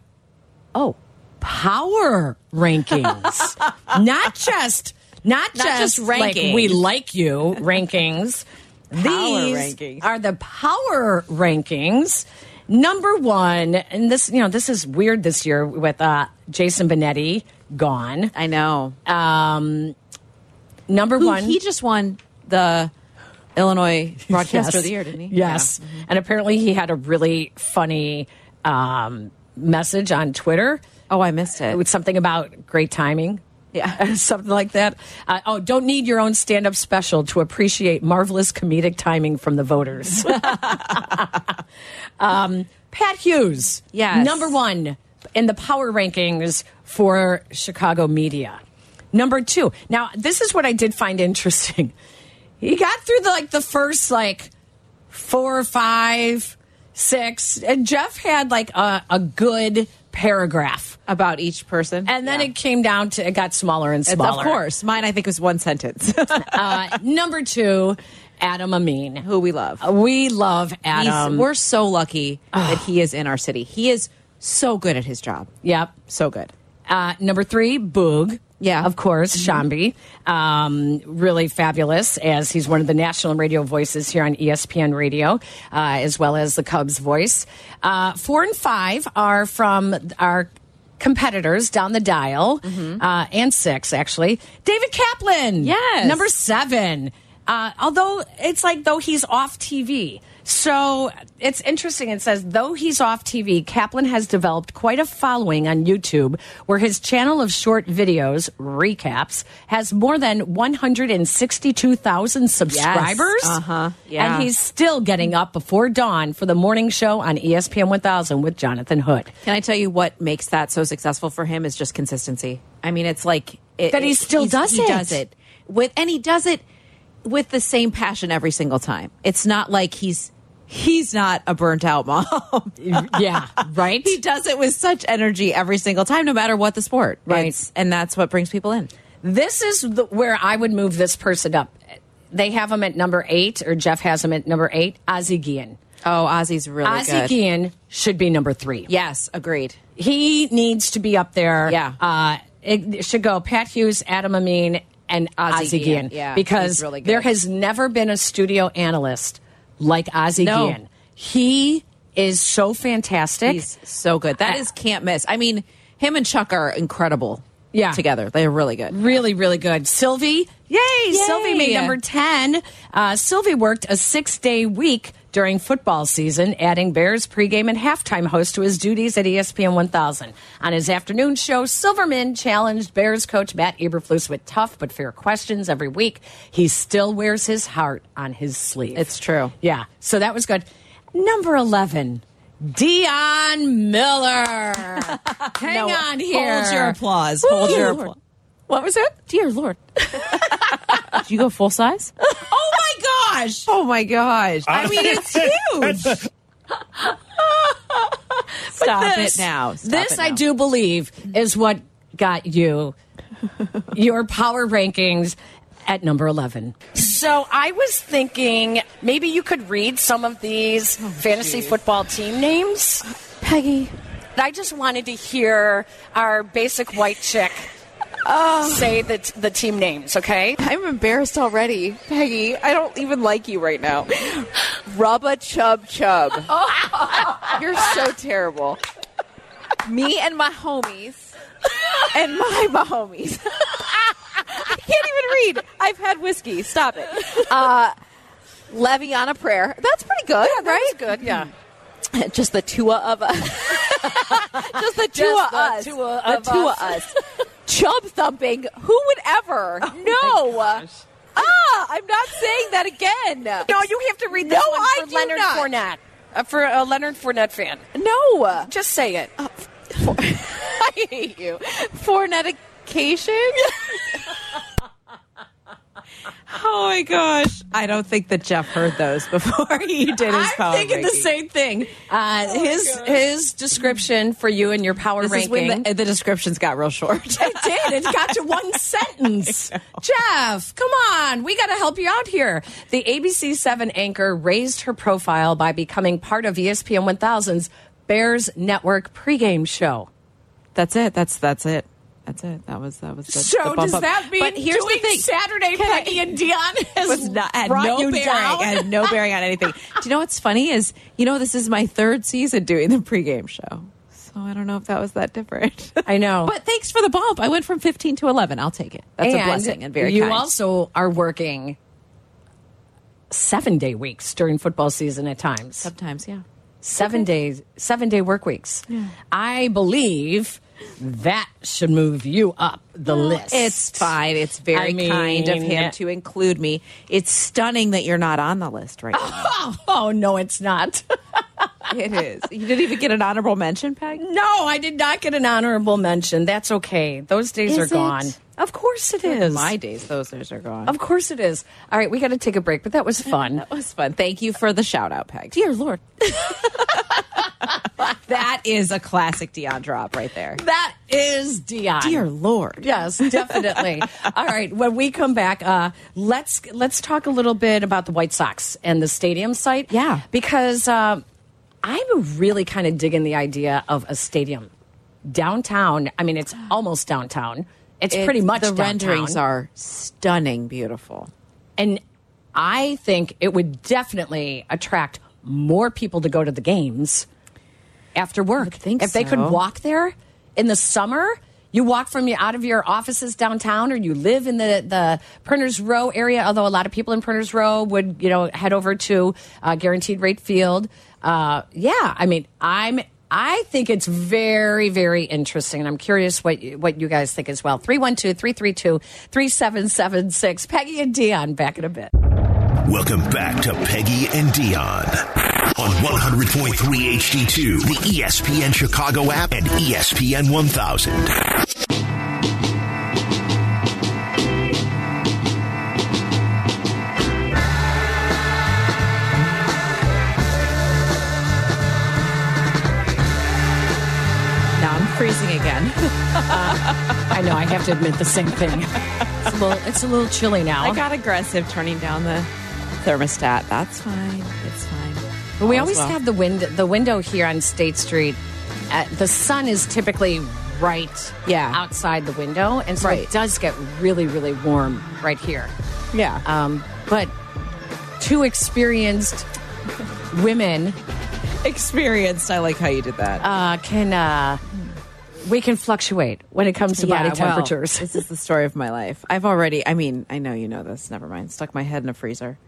Speaker 4: Oh, power rankings, not just not,
Speaker 5: Not just
Speaker 4: like,
Speaker 5: rankings.
Speaker 4: we like you rankings. These
Speaker 5: rankings.
Speaker 4: are the power rankings. Number one, and this, you know, this is weird this year with uh, Jason Benetti gone.
Speaker 5: I know.
Speaker 4: Um, Number
Speaker 5: Who-
Speaker 4: one,
Speaker 5: He just won the Illinois Broadcaster of the Year, didn't he? Mm-hmm.
Speaker 4: Yes. And apparently he had a really funny um, message on Twitter.
Speaker 5: Yeah. Oh, I missed
Speaker 4: It
Speaker 5: it.
Speaker 4: was something about great timing.
Speaker 5: Yeah.
Speaker 4: Something like that. Uh, oh, don't need your own stand up special to appreciate marvelous comedic timing from the voters. um, Pat Hughes.
Speaker 5: Yes.
Speaker 4: Number one in the power rankings for Chicago media. Number two. Now, this is what I did find interesting. He got through the, like the first like four, five, six, and Jeff had like a, a good paragraph.
Speaker 5: About each person.
Speaker 4: And then
Speaker 5: Yeah.
Speaker 4: it came down to it got smaller and
Speaker 5: It's-
Speaker 4: smaller.
Speaker 5: Of course. Mine, I think, was one sentence.
Speaker 4: Uh, number two, Adam Amin.
Speaker 5: Who we love.
Speaker 4: We love
Speaker 5: Oh, He's-
Speaker 4: Adam.
Speaker 5: we're so lucky that he is in our city. He is so good at his job.
Speaker 4: yep.
Speaker 5: So good.
Speaker 4: Uh, number three, Boog.
Speaker 5: Yeah. Mm-hmm.
Speaker 4: Of course, Shambi. Um, really fabulous, as he's one of the national radio voices here on E ESPN Radio, uh, as well as the Cubs voice. Uh, four and five are from our competitors down the dial,
Speaker 5: Mm-hmm.
Speaker 4: uh, and six, actually. David Kaplan.
Speaker 5: Yes.
Speaker 4: Number seven. Uh, although it's like though he's off TV. So it's interesting. It says though he's off TV, Kaplan has developed quite a following on YouTube, where his channel of short videos recaps has more than one hundred and sixty-two thousand subscribers.
Speaker 5: Uh-huh. Yeah.
Speaker 4: and he's still getting up before dawn for the morning show on E ESPN One Thousand with Jonathan Hood.
Speaker 5: Can I tell you what makes that so successful for him is just consistency. I mean, it's like it,
Speaker 4: That he still
Speaker 5: he's-
Speaker 4: does
Speaker 5: he
Speaker 4: it.
Speaker 5: does it with, and he does it with the same passion every single time. It's not like he's he's not a burnt out mom.
Speaker 4: yeah, right.
Speaker 5: he does it with such energy every single time, no matter what the sport.
Speaker 4: Right.
Speaker 5: It's- and that's what brings people in.
Speaker 4: This is the, where I would move this person up. They have him at number eight, or Jeff has him at number eight. Ozzie Guillen.
Speaker 5: Oh, Ozzy's really
Speaker 4: Ozzie
Speaker 5: good.
Speaker 4: Guillen should be number three.
Speaker 5: Yes, agreed.
Speaker 4: He needs to be up there.
Speaker 5: Yeah.
Speaker 4: Uh, it should go Pat Hughes, Adam Amin, and
Speaker 5: Ozzie
Speaker 4: Ozzie Guillen.
Speaker 5: Guillen. Yeah,
Speaker 4: Because
Speaker 5: he's really good.
Speaker 4: there has never been a studio analyst like Ozzie
Speaker 5: No.
Speaker 4: Guillen. He is so fantastic.
Speaker 5: He's so good. That
Speaker 4: I-
Speaker 5: is can't miss. I mean, him and Chuck are incredible.
Speaker 4: Yeah.
Speaker 5: together they're really good.
Speaker 4: Really, really good. Sylvie, yay! Sylvie made
Speaker 5: Yeah.
Speaker 4: number 10. Uh, Sylvie worked a six day week during football season, adding Bears pregame and halftime host to his duties at E ESPN 1000. On his afternoon show, Silverman challenged Bears coach Matt Eberflus with tough but fair questions every week. He still wears his heart on his sleeve.
Speaker 5: It's true.
Speaker 4: Yeah, so that was good. Number 11 Dion Miller. Hang
Speaker 5: No,
Speaker 4: on here.
Speaker 5: Hold your applause. Hold
Speaker 4: Woo!
Speaker 5: your applause. What was that?
Speaker 4: Dear Lord.
Speaker 5: Did you go full size?
Speaker 4: Oh my gosh.
Speaker 5: oh my gosh. I mean, it's huge. Stop
Speaker 4: this-
Speaker 5: it now. Stop
Speaker 4: this
Speaker 5: it now.
Speaker 4: I do believe is what got you your power rankings at number 11.
Speaker 11: So I was thinking maybe you could read some of these
Speaker 5: Oh,
Speaker 11: fantasy football team names.
Speaker 4: Peggy.
Speaker 11: I just wanted to hear our basic white chick say the, the team names, okay?
Speaker 12: I'm embarrassed already, Peggy. I don't even like you right now. Rubba Chub Chub.
Speaker 11: Oh.
Speaker 12: You're so terrible. Me and my homies. And my Mahomies. I can't even read. I've had whiskey. Stop it. Uh, Levy on a prayer. That's pretty good, right?
Speaker 11: good, yeah.
Speaker 12: Just the two of us. Just the two
Speaker 11: Just
Speaker 12: of
Speaker 11: the
Speaker 12: us.
Speaker 11: two of
Speaker 12: the two
Speaker 11: us.
Speaker 12: of us. Chub thumping. Who would ever?
Speaker 5: Oh
Speaker 12: no. Ah, I'm not saying that again.
Speaker 11: No, you have to read this
Speaker 12: No,
Speaker 11: one
Speaker 12: I
Speaker 11: for
Speaker 12: do
Speaker 11: Leonard
Speaker 12: not.
Speaker 11: Fournette. Uh, for a Leonard Fournette fan.
Speaker 12: No. Oh,
Speaker 11: Just say it.
Speaker 12: I hate you. Fornetication?
Speaker 5: Oh my gosh. I don't think that Jeff heard those before he did his power
Speaker 4: I'm thinking the
Speaker 5: ranking. Oh,
Speaker 4: same thing. Uh, his his description for you and your power
Speaker 5: This is
Speaker 4: ranking.
Speaker 5: when the, the descriptions got real short.
Speaker 4: it did. It got to one sentence. Jeff, come on. We got to help you out here. The ABC7 anchor raised her profile by becoming part of E ESPN 1000's Bears Network pregame show.
Speaker 5: That's it. That's that's it. That's it. That was that was. The,
Speaker 4: So
Speaker 5: the bump
Speaker 4: does
Speaker 5: up.
Speaker 4: that mean
Speaker 5: But here's
Speaker 4: doing
Speaker 5: the thing.
Speaker 4: Saturday Peggy and Dion has
Speaker 5: was not had
Speaker 4: brought
Speaker 5: no
Speaker 4: you
Speaker 5: bearing.
Speaker 4: down?
Speaker 5: Had no bearing on anything. Do you know what's funny is you know this is my third season doing the pregame show, so I don't know if that was that different.
Speaker 4: I know.
Speaker 5: but thanks for the bump. I went from 15 to 11. I'll take it. That's
Speaker 4: and
Speaker 5: a blessing and very
Speaker 4: You
Speaker 5: kind.
Speaker 4: also are working seven day weeks during football season at times.
Speaker 5: Sometimes, yeah.
Speaker 4: seven days seven day work weeks
Speaker 5: Yeah.
Speaker 4: i believe that should move you up the list
Speaker 5: It's fine. It's very
Speaker 4: I mean-
Speaker 5: kind of him to include me. It's stunning that you're not on the list right now.
Speaker 4: oh, oh, no it's not
Speaker 5: it is. You didn't even get an honorable mention, Peg.
Speaker 4: no i did not get an honorable mention that's okay those days
Speaker 5: Is
Speaker 4: are
Speaker 5: it?
Speaker 4: gone of course it is
Speaker 5: My days, those days are gone.
Speaker 4: of course it is all right we got to take a break but that was fun
Speaker 5: That was fun. Thank you for the shout out, Peg.
Speaker 4: dear lord
Speaker 5: That is a classic Dion drop right there.
Speaker 4: that is dion
Speaker 5: Dear Lord.
Speaker 4: Yes, definitely. All right, when we come back, uh, let's let's talk a little bit about the White Sox and the stadium site.
Speaker 5: Yeah.
Speaker 4: because uh, I'm really kind of digging the idea of a stadium downtown. I mean, it's almost downtown. It's
Speaker 5: It-
Speaker 4: pretty much
Speaker 5: the
Speaker 4: downtown.
Speaker 5: renderings are stunning, beautiful.
Speaker 4: and I think it would definitely attract more people to go to the games after work.
Speaker 5: think
Speaker 4: if they could
Speaker 5: so.
Speaker 4: walk there in the summer, you walk from you out of your offices downtown, or you live in the the Printers Row area. Although a lot of people in Printers Row would you know head over to uh, Guaranteed Rate Field. Uh, yeah, I mean, I'm. I think it's very, very interesting. And I'm curious what you, what you guys think as well. 312 332 3776. Peggy and Dion back in a bit.
Speaker 6: Welcome back to Peggy and Dion on 100.3 HD2, the E ESPN Chicago app and E ESPN 1000.
Speaker 5: Now I'm freezing again.
Speaker 4: I know. I have to admit the same thing. It's a little, it's a little chilly now.
Speaker 5: I got aggressive turning down the thermostat. That's fine. It's fine.
Speaker 4: But we
Speaker 5: All's
Speaker 4: always
Speaker 5: well.
Speaker 4: have the wind, the window here on State Street. Uh, the sun is typically right,
Speaker 5: Yeah.
Speaker 4: outside the window, and so
Speaker 5: Right.
Speaker 4: it does get really, really warm right here.
Speaker 5: Yeah.
Speaker 4: Um, but two experienced women
Speaker 5: experienced. I like how you did that.
Speaker 4: uh, can uh, we can fluctuate when it comes to body
Speaker 5: well,
Speaker 4: temperatures.
Speaker 5: this is the story of my life. I've already, I mean, I know you know this. Never mind. Stuck my head in a freezer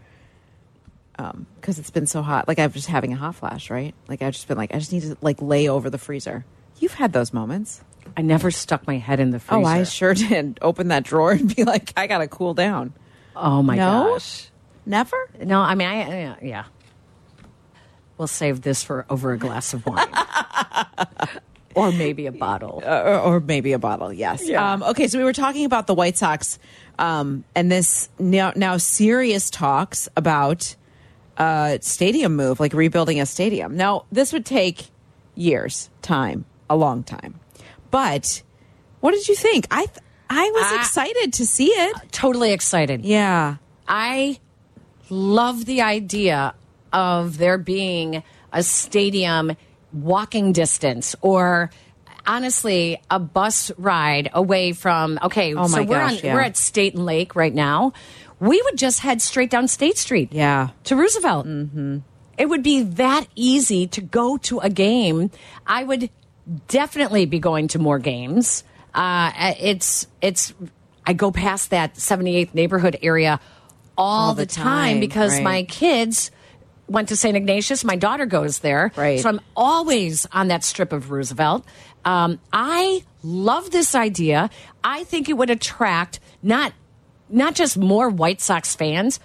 Speaker 5: because it's been so hot. Like I've just having a hot flash, right? Like I've just been like, I just need to like lay over the freezer. You've had those moments.
Speaker 4: I never stuck my head in the freezer.
Speaker 5: Oh, I sure did. Open that drawer and be like, I gotta cool down.
Speaker 4: Oh my
Speaker 5: no,
Speaker 4: gosh.
Speaker 5: never.
Speaker 4: No, I mean, I yeah. We'll save this for over a glass of wine. or maybe a bottle.
Speaker 5: or, or maybe a bottle. Yes.
Speaker 4: Yeah.
Speaker 5: Um, okay, so we were talking about the White Sox, um, and this now now serious talks about uh, stadium move, like rebuilding a stadium. Now this would take years, time, a long time. But what did you think? I th I was excited to see it.
Speaker 4: Totally excited.
Speaker 5: Yeah.
Speaker 4: I love the idea of there being a stadium walking distance or honestly a bus ride away from okay
Speaker 5: Oh
Speaker 4: so
Speaker 5: my
Speaker 4: we're
Speaker 5: gosh,
Speaker 4: on
Speaker 5: yeah.
Speaker 4: we're at State and Lake right now we would just head straight down State Street yeah to Roosevelt mm-hmm. it would be that easy to go to a game I would definitely be going to more games uh, it's it's I go past that 78th neighborhood area all, the, time,
Speaker 5: time,
Speaker 4: because
Speaker 5: right.
Speaker 4: my kids went to St. Ignatius. My daughter goes there. Right. So I'm always on that strip of Roosevelt. Um, I love this idea. I think it would attract not not just more White Sox fans,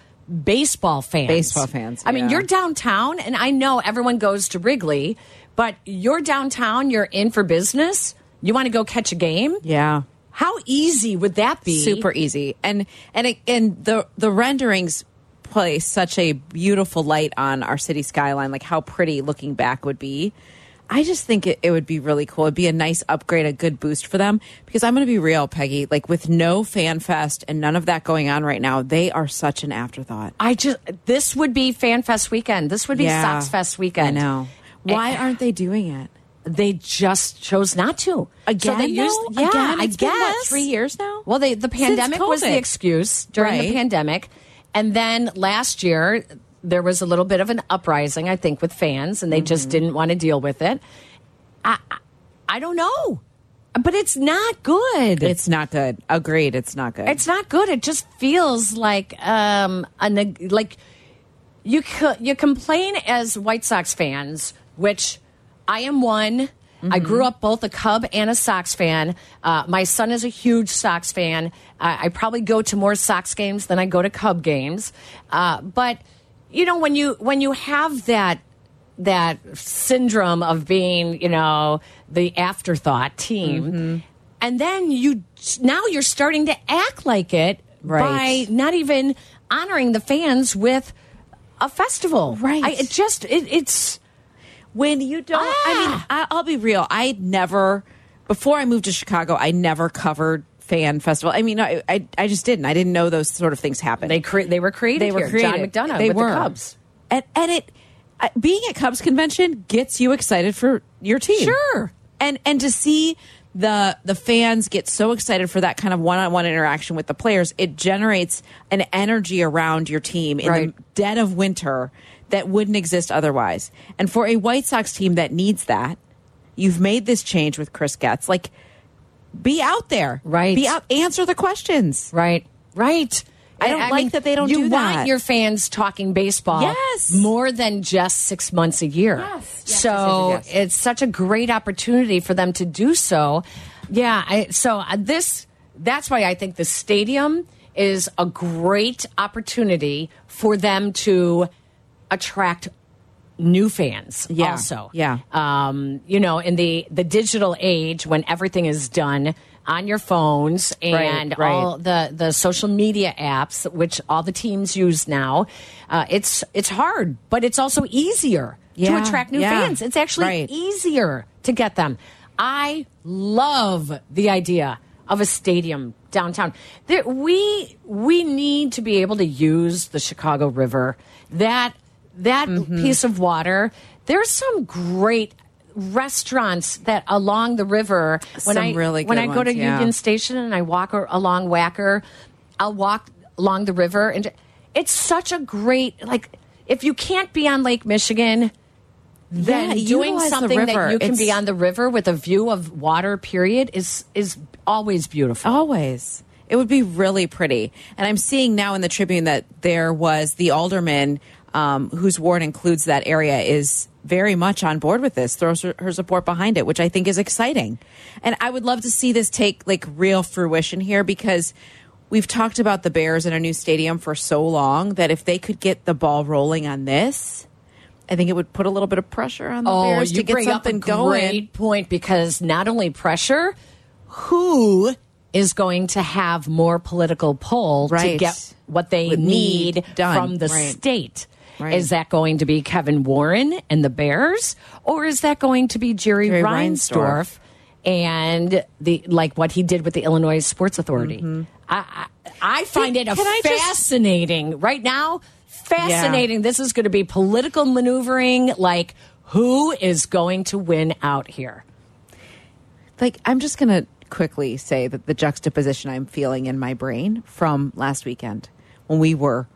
Speaker 4: baseball fans.
Speaker 5: Baseball fans,
Speaker 4: I mean,
Speaker 5: yeah.
Speaker 4: you're downtown, and I know everyone goes to Wrigley, but you're downtown, you're in for business. You want to go catch a game?
Speaker 5: Yeah.
Speaker 4: How easy would that be?
Speaker 5: super easy and and it, and the the renderings play such a beautiful light on our city skyline like how pretty looking back would be i just think it, it would be really cool it'd be a nice upgrade a good boost for them because i'm going to be real peggy like with no fan fest and none of that going on right now they are such an afterthought
Speaker 4: I just this would be Fan Fest weekend. This would be
Speaker 5: Yeah.
Speaker 4: Sox Fest weekend.
Speaker 5: I know. Why aren't they doing it?
Speaker 4: They just chose not to
Speaker 5: Again,
Speaker 4: So they used,
Speaker 5: though?
Speaker 4: yeah,
Speaker 5: Again?
Speaker 4: I
Speaker 5: It's been,
Speaker 4: guess
Speaker 5: what, three years now?
Speaker 4: Well, they, the
Speaker 5: Since
Speaker 4: pandemic was
Speaker 5: COVID.
Speaker 4: the excuse during
Speaker 5: Right.
Speaker 4: the pandemic, and then last year there was a little bit of an uprising, I think, with fans, and they
Speaker 5: Mm-hmm.
Speaker 4: just didn't want to deal with it. I, I- I don't know, but it's not good.
Speaker 5: it's not good agreed it's not good
Speaker 4: It's not good. It just feels like um a neg- like you co- you complain as White Sox fans, which I am one. I grew up both a Cub and a Sox fan. Uh, my son is a huge Sox fan. I, I probably go to more Sox games than I go to Cub games. Uh, but you know when you when you have that that syndrome of being you know the afterthought team, and then you now you're starting to act like it
Speaker 5: Right.
Speaker 4: by not even honoring the fans with a festival. Right. I, it just it, it's
Speaker 5: when you don't i mean I, i'll be real i never before i moved to chicago i never covered fan festival i mean i i, I just didn't i didn't know those sort of things happened
Speaker 4: they cre- they were created.
Speaker 5: they were
Speaker 4: here. John
Speaker 5: created.
Speaker 4: McDonough
Speaker 5: they
Speaker 4: with
Speaker 5: were
Speaker 4: the Cubs.
Speaker 5: and and it uh, being at cubs convention gets you excited for your team
Speaker 4: Sure.
Speaker 5: and and to see the the fans get so excited for that kind of one-on-one interaction with the players it generates an energy around your team in
Speaker 4: Right.
Speaker 5: the dead of winter that wouldn't exist otherwise and for a white sox team that needs that you've made this change with chris getz like be out there
Speaker 4: Right.
Speaker 5: be out answer the questions
Speaker 4: Right. Right.
Speaker 5: I don't like
Speaker 4: mean,
Speaker 5: that they don't
Speaker 4: you
Speaker 5: do that.
Speaker 4: want your fans talking baseball
Speaker 5: Yes.
Speaker 4: more than just six months a year. so
Speaker 5: yes, yes,
Speaker 4: it's such a great opportunity for them to do so. Yeah. I, so uh, this, that's why I think the stadium is a great opportunity for them to attract new fans
Speaker 5: Yeah,
Speaker 4: also
Speaker 5: yeah.
Speaker 4: um, you know in the the digital age when everything is done on your phones and
Speaker 5: right.
Speaker 4: all the the social media apps which all the teams use now uh, it's it's hard but it's also easier
Speaker 5: Yeah,
Speaker 4: to attract new
Speaker 5: yeah.
Speaker 4: fans it's actually
Speaker 5: Right.
Speaker 4: easier to get them i love the idea of a stadium downtown there, we we need to be able to use the chicago river that that
Speaker 5: Mm-hmm.
Speaker 4: piece of water there's some great restaurants that along the river when
Speaker 5: Some
Speaker 4: I
Speaker 5: really
Speaker 4: when
Speaker 5: good
Speaker 4: I go to
Speaker 5: ones, yeah.
Speaker 4: Union Station and I walk or, along Wacker, I'll walk along the river and it's such a great like if you can't be on Lake Michigan then
Speaker 5: Yeah,
Speaker 4: doing
Speaker 5: utilize the
Speaker 4: something
Speaker 5: river.
Speaker 4: that you can be
Speaker 5: It's-
Speaker 4: on the river with a view of water period is is always beautiful.
Speaker 5: Always. It would be really pretty. And I'm seeing now in the Tribune that there was the alderman um, whose ward includes that area is very much on board with this, throws her, her support behind it, which I think is exciting. And I would love to see this take like real fruition here because we've talked about the Bears in a new stadium for so long that if they could get the ball rolling on this, I think it would put a little bit of pressure on the
Speaker 4: Oh,
Speaker 5: Bears
Speaker 4: you
Speaker 5: to get
Speaker 4: bring
Speaker 5: something
Speaker 4: up a
Speaker 5: going.
Speaker 4: great point because not only pressure, who is going to have more political pull to
Speaker 5: Right.
Speaker 4: get what they
Speaker 5: What
Speaker 4: need,
Speaker 5: need done.
Speaker 4: from the
Speaker 5: Right.
Speaker 4: state?
Speaker 5: Right.
Speaker 4: Is that going to be Kevin Warren and the Bears, or is that going to be Jerry,
Speaker 5: Jerry Reinsdorf.
Speaker 4: Reinsdorf? And the like, what he did with the Illinois Sports Authority. I, I, I find it a
Speaker 5: Mm-hmm. can I just-
Speaker 4: fascinating right now. Fascinating. This is going to be political maneuvering. Like, who is going to win out here?
Speaker 5: like I'm just gonna quickly say that the juxtaposition I'm feeling in my brain from last weekend when we were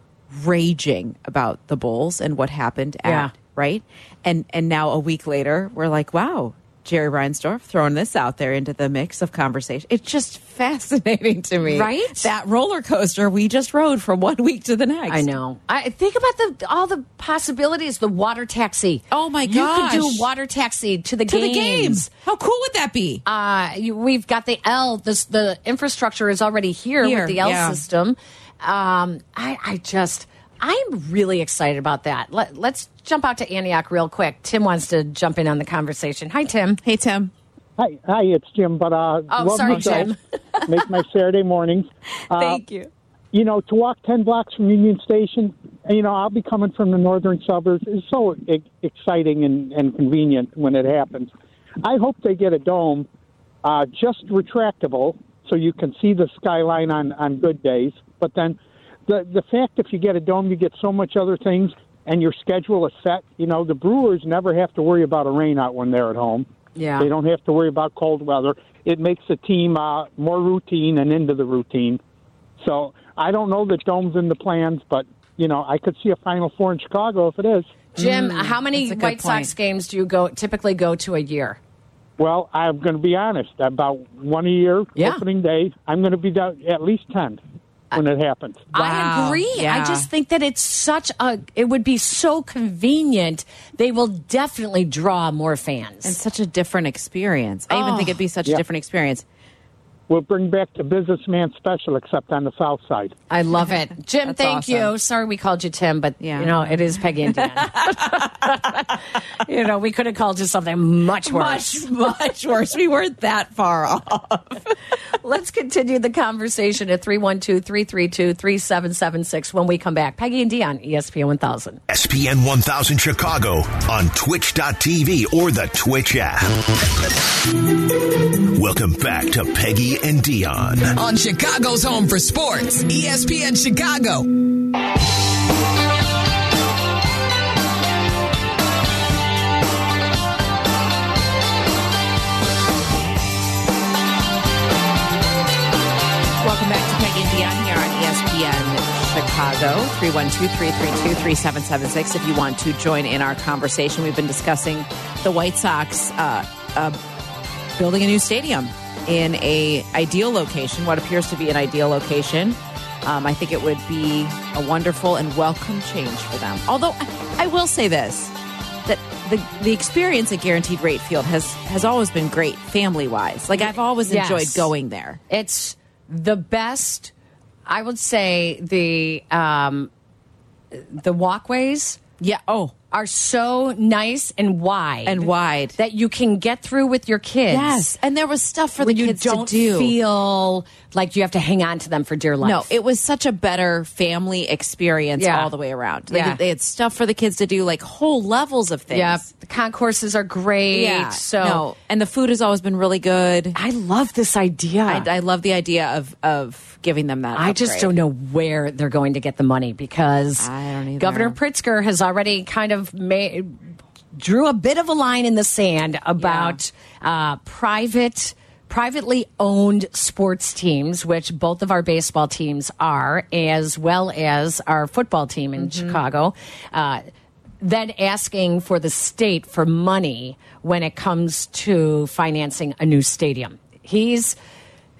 Speaker 5: raging about the Bulls and what happened at
Speaker 4: Yeah.
Speaker 5: right, and and now a week later we're like, wow, Jerry Reinsdorf throwing this out there into the mix of conversation. It's just fascinating to me,
Speaker 4: Right?
Speaker 5: That roller coaster we just rode from one week to the next.
Speaker 4: I know. I think about the all the possibilities. The water taxi.
Speaker 5: Oh my gosh.
Speaker 4: You could do water taxi to the
Speaker 5: To
Speaker 4: games.
Speaker 5: the games. How cool would that be?
Speaker 4: Uh, you, we've got the L. This the infrastructure is already here,
Speaker 5: Here,
Speaker 4: with the L
Speaker 5: yeah.
Speaker 4: system. Um, I, I just, I'm really excited about that. Let, let's jump out to Antioch real quick. Tim wants to jump in on the conversation. Hi, Tim.
Speaker 5: Hey, Tim.
Speaker 13: Hi, hi, it's Jim. But uh,
Speaker 4: Oh,
Speaker 13: love
Speaker 4: sorry,
Speaker 13: your show.
Speaker 4: Jim.
Speaker 13: Make my Saturday mornings. Uh,
Speaker 5: Thank you.
Speaker 13: You know, to walk ten blocks from Union Station, and, you know, I'll be coming from the northern suburbs. It's so e exciting and, and convenient when it happens. I hope they get a dome, uh, just retractable, so you can see the skyline on on good days. But then, the the fact if you get a dome, you get so much other things, and your schedule is set. You know, the Brewers never have to worry about a rain out when they're at home.
Speaker 4: Yeah.
Speaker 13: They don't have to worry about cold weather. It makes the team uh, more routine and into the routine. So I don't know that dome's in the plans, but you know I could see a Final Four in Chicago if it is.
Speaker 4: Jim, how many
Speaker 13: that's a good
Speaker 4: White Sox
Speaker 13: point.
Speaker 4: games do you go typically go to a year?
Speaker 13: Well, I'm going to be honest. About one a year,
Speaker 4: Yeah.
Speaker 13: opening day, I'm going to be down at least ten when it happens.
Speaker 4: I agree. I just think that it's such a. It would be so convenient. They will definitely draw more fans.
Speaker 5: And such a different experience. I even
Speaker 4: Oh.
Speaker 5: think it'd be such a
Speaker 13: Yeah.
Speaker 5: different experience.
Speaker 13: we'll bring back the businessman special, except on the south side.
Speaker 4: I love it, Jim.
Speaker 5: That's
Speaker 4: thank
Speaker 5: awesome.
Speaker 4: you. Sorry we called you Tim, but you know it is Peggy and Dan. you know we could have called you something much worse.
Speaker 5: Much, much worse. We weren't that far off.
Speaker 4: Let's continue the conversation at 312-332-3776 when we come back. Peggy and Dion, E ESPN 1000.
Speaker 6: SPN 1000 Chicago on twitch.tv or the Twitch app. Welcome back to Peggy and Dion.
Speaker 1: On Chicago's Home for Sports, E ESPN Chicago.
Speaker 5: Welcome back to Peggy and Dion here
Speaker 4: E
Speaker 5: on ESPN Chicago. 312 332 3776. If you want to join in our conversation, we've been discussing the White Sox uh, uh, building a new stadium in a ideal location, what appears to be an ideal location. Um, I think it would be a wonderful and welcome change for them. Although I- I will say this that the, the experience at Guaranteed Rate Field has, has always been great family wise. Like I've always
Speaker 4: Yes.
Speaker 5: enjoyed going there.
Speaker 4: It's the best. I would say the um, the walkways.
Speaker 5: Yeah. Oh.
Speaker 4: Are so nice and wide
Speaker 5: And wide.
Speaker 4: that you can get through with your kids.
Speaker 5: Yes, and there was stuff for
Speaker 4: when
Speaker 5: the
Speaker 4: you
Speaker 5: kids
Speaker 4: don't
Speaker 5: to do.
Speaker 4: feel like you have to hang on to them for dear life.
Speaker 5: no, it was such a better family experience
Speaker 4: Yeah.
Speaker 5: all the way around. Like,
Speaker 4: Yeah.
Speaker 5: They had stuff for the kids to do, like whole levels of things.
Speaker 4: yeah, the concourses are great.
Speaker 5: Yeah.
Speaker 4: so
Speaker 5: No, and the food has always been really good.
Speaker 4: I love this idea.
Speaker 5: I, I love the idea of of giving them that.
Speaker 4: I just don't
Speaker 5: upgrade.
Speaker 4: know where they're going to get the money because
Speaker 5: I don't either.
Speaker 4: Governor Pritzker has already kind of made drew a bit of a line in the sand about uh, private privately owned sports teams which both of our baseball teams are as well as our football team in chicago uh, then asking for the state for money when it comes to financing a new stadium he's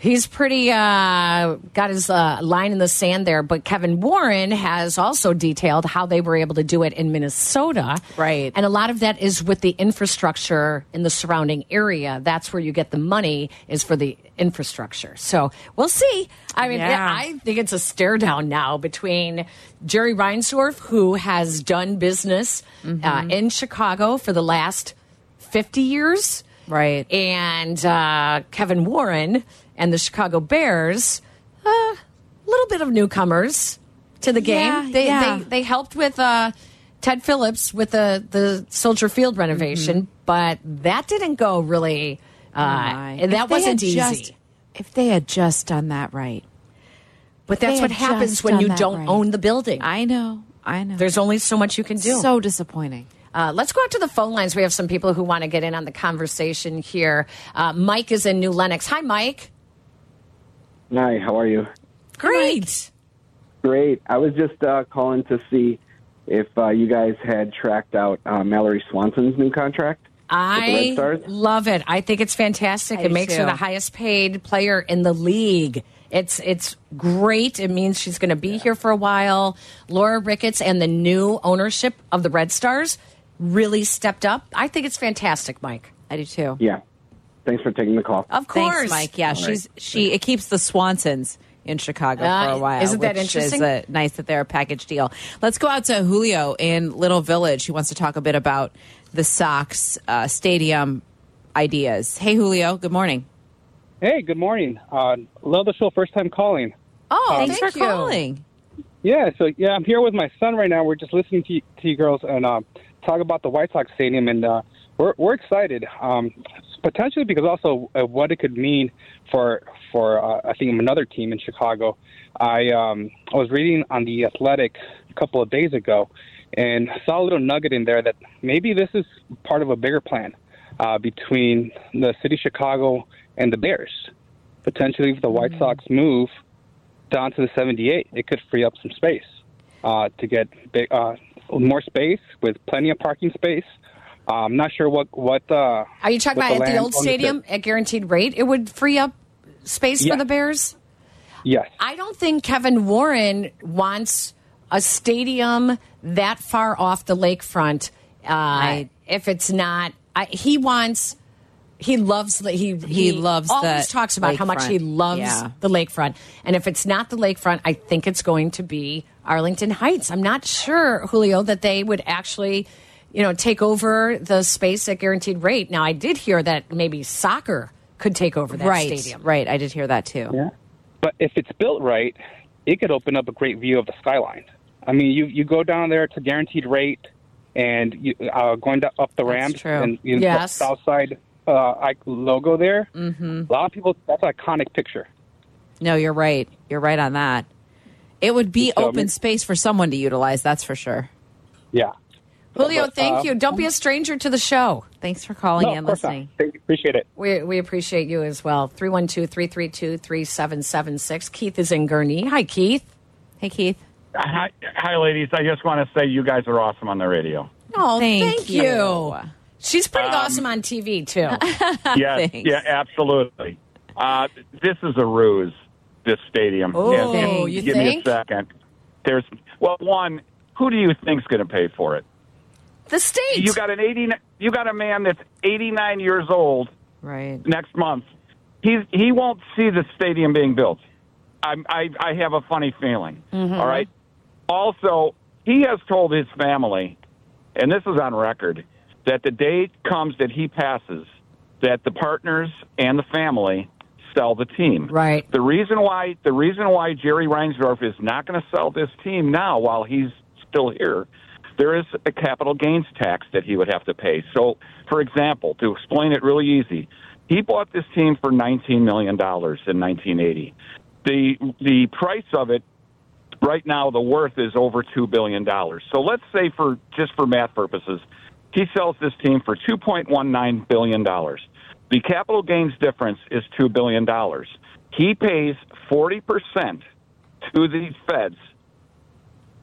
Speaker 4: He's pretty uh, got his uh, line in the sand there, but Kevin Warren has also detailed how they were able to do it in Minnesota. Right. And a lot of that is with the infrastructure in the surrounding area. That's where you get the money is for the infrastructure. So we'll see. I mean,
Speaker 3: Yeah.
Speaker 4: I think it's a stare down now between Jerry Reinsdorf, who has done business uh, in Chicago for the last 50 years. Right. And uh, Kevin Warren and the Chicago Bears, a little bit of newcomers to the game.
Speaker 3: Yeah,
Speaker 4: they,
Speaker 3: yeah.
Speaker 4: they they helped with uh, Ted Phillips with the, the Soldier Field renovation, but that didn't go really. Uh,
Speaker 5: Oh If
Speaker 4: that
Speaker 5: they
Speaker 4: wasn't
Speaker 5: had
Speaker 4: easy.
Speaker 5: just- if they had just done that right.
Speaker 4: But
Speaker 5: If they
Speaker 4: that's what
Speaker 5: had
Speaker 4: happens
Speaker 5: just
Speaker 4: when
Speaker 5: done
Speaker 4: you
Speaker 5: that
Speaker 4: don't
Speaker 5: right.
Speaker 4: own the building.
Speaker 5: I know. I know.
Speaker 4: There's only so much you can do.
Speaker 5: So disappointing.
Speaker 4: Uh, let's go out to the phone lines. We have some people who want to get in on the conversation here. Uh, Mike is in New Lenox. Hi, Mike.
Speaker 14: Hi, how are you?
Speaker 4: Great.
Speaker 14: Great. I was just uh, calling to see if uh, you guys had tracked out uh, Mallory Swanson's new contract. With the Red
Speaker 4: I
Speaker 14: Stars?
Speaker 4: love it. I think it's fantastic.
Speaker 14: I
Speaker 4: it
Speaker 14: do
Speaker 4: makes her
Speaker 14: too.
Speaker 4: the highest paid player in the league. It's it's great. It means she's going to be here for a while. Laura Ricketts and the new ownership of the Red Stars really stepped up. I think it's fantastic, Mike.
Speaker 5: I do too.
Speaker 14: Yeah. Thanks for taking the call.
Speaker 11: Uh,
Speaker 4: Of course.
Speaker 5: Thanks, Mike. Yeah,
Speaker 4: All right.
Speaker 5: she's she. It keeps the Swansons in Chicago for
Speaker 4: Uh,
Speaker 5: a while.
Speaker 4: isn't that
Speaker 5: which
Speaker 4: interesting?
Speaker 5: Is uh, nice that they're a package deal. Let's go out to Julio in Little Village. He wants to talk a bit about the Sox uh, stadium ideas. Hey, Julio. Good morning.
Speaker 15: Hey, good morning. Uh, love the show. First time calling.
Speaker 5: Oh,
Speaker 15: Um,
Speaker 5: thanks for calling.
Speaker 15: Yeah, so yeah, I'm here with my son right now. We're just listening to, to you girls and um, talk about the White Sox Stadium, and uh, we're we're excited, um, potentially because also uh, what it could mean for for uh, I think another team in Chicago. I um, I was reading on the Athletic a couple of days ago, and saw a little nugget in there that maybe this is part of a bigger plan uh, between the city of Chicago and the Bears. Potentially, if the White
Speaker 4: Mm.
Speaker 15: Sox move down to the 78, it could free up some space uh, to get big, uh, more space with plenty of parking space. Uh, I'm not sure what what. Uh,
Speaker 4: Are you talking
Speaker 15: what
Speaker 4: about at the
Speaker 15: land
Speaker 4: old
Speaker 15: ownership-
Speaker 4: stadium at guaranteed rate? It would free up space
Speaker 15: Yeah.
Speaker 4: for the Bears?
Speaker 15: Yes.
Speaker 4: I don't think Kevin Warren wants a stadium that far off the lakefront. Uh, If it's not, I, he wants. He loves the he
Speaker 5: He loves
Speaker 4: always
Speaker 5: the
Speaker 4: talks about how much he
Speaker 5: lakefront.
Speaker 4: loves
Speaker 5: Yeah.
Speaker 4: the lakefront, and if it's not the lakefront, I think it's going to be Arlington Heights. I'm not sure, Julio, that they would actually, you know, take over the space at guaranteed rate. Now, I did hear that maybe soccer could take over that
Speaker 5: Right,
Speaker 4: stadium.
Speaker 5: right. I did hear that too.
Speaker 15: Yeah. But if it's built right, it could open up a great view of the skyline. I mean, you you go down there to guaranteed rate, and you uh, going to, up the ramp
Speaker 5: true.
Speaker 15: and you know,
Speaker 5: Yes.
Speaker 15: south side uh, I- logo there.
Speaker 4: Mm-hmm.
Speaker 5: Mhm.
Speaker 15: A lot of people. That's an iconic picture.
Speaker 5: No, you're right. You're right on that. It would be
Speaker 15: So, I
Speaker 5: open
Speaker 15: mean-
Speaker 5: space for someone to utilize. That's for sure.
Speaker 15: Yeah.
Speaker 4: Julio,
Speaker 5: But,
Speaker 4: thank
Speaker 5: uh,
Speaker 4: you. Don't be a stranger to the show.
Speaker 5: Thanks for calling
Speaker 4: No, of
Speaker 5: and
Speaker 4: course not.
Speaker 5: listening.
Speaker 15: Thank you. Appreciate it.
Speaker 4: We, we appreciate you as well. 312 332 3776. Keith is in Gurney. Hi, Keith.
Speaker 5: Hey, Keith.
Speaker 13: Hi, hi, ladies. I just want to say you guys are awesome on the radio.
Speaker 4: Oh,
Speaker 5: Thank
Speaker 4: thank, you.
Speaker 5: you.
Speaker 4: She's pretty
Speaker 13: Um,
Speaker 4: awesome on TV, too.
Speaker 13: Yes, yeah, absolutely. Uh, this is a ruse. This stadium.
Speaker 4: Oh,
Speaker 13: Yes,
Speaker 4: you
Speaker 13: give
Speaker 4: think?
Speaker 13: me a second. There's well, one. Who do you think's going to pay for it?
Speaker 4: The state.
Speaker 13: You got an eighty. You got a man that's eighty nine years old.
Speaker 5: Right.
Speaker 13: Next month, he's he won't see the stadium being built. I'm, I I have a funny feeling.
Speaker 16: Mhm.
Speaker 4: Mm-hmm.
Speaker 13: All right. Also, he has told his family, and this is on record, that the day comes that he passes, that the partners and the family sell the team.
Speaker 4: Right.
Speaker 13: The reason why the reason why Jerry Reinsdorf is not going to sell this team now while he's still here, there is a capital gains tax that he would have to pay. So, for example, to explain it really easy, he bought this team for 19 million dollars in 1980. The the price of it right now the worth is over two billion dollars. So let's say for just for math purposes, he sells this team for two point one nine billion dollars. The capital gains difference is two billion dollars. He pays forty percent to the feds,